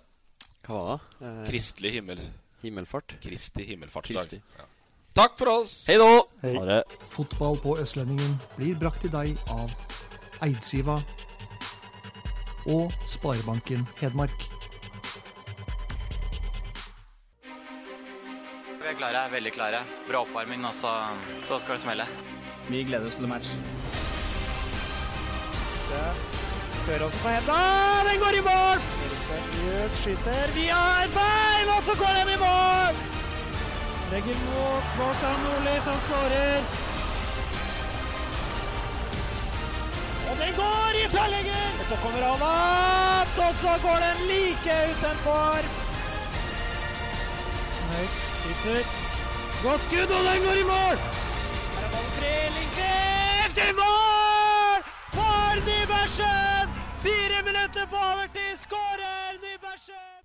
[SPEAKER 5] Hva var det? Eh,
[SPEAKER 1] Kristelig himmel.
[SPEAKER 5] Himmelfart.
[SPEAKER 1] Kristi himmelfartsdag.
[SPEAKER 5] Kristi.
[SPEAKER 1] Ja. Takk for oss!
[SPEAKER 5] Hei da!
[SPEAKER 6] Fotball på Østlendingen blir brakt til deg av Eidsiva og Sparebanken Hedmark.
[SPEAKER 7] Vi er klare, veldig klare. Bra oppvarming, og så, så skal det smelle.
[SPEAKER 8] Vi gleder oss til match.
[SPEAKER 3] Føråsen på henda, den går i mål! Eriksen Jøs skyter, vi har bein, og så går den i mål! Legger mot Kvartan Nordli, som skårer. Og den går i tverrlegger! Og så kommer han opp, og så går den like utenfor. Høyt, skyter. Godt skudd, og den går i mål! Her er ballen fri, Lindqvist i mål! For Nybergsen! Fire minutter på overtid, skårer Nybergsen!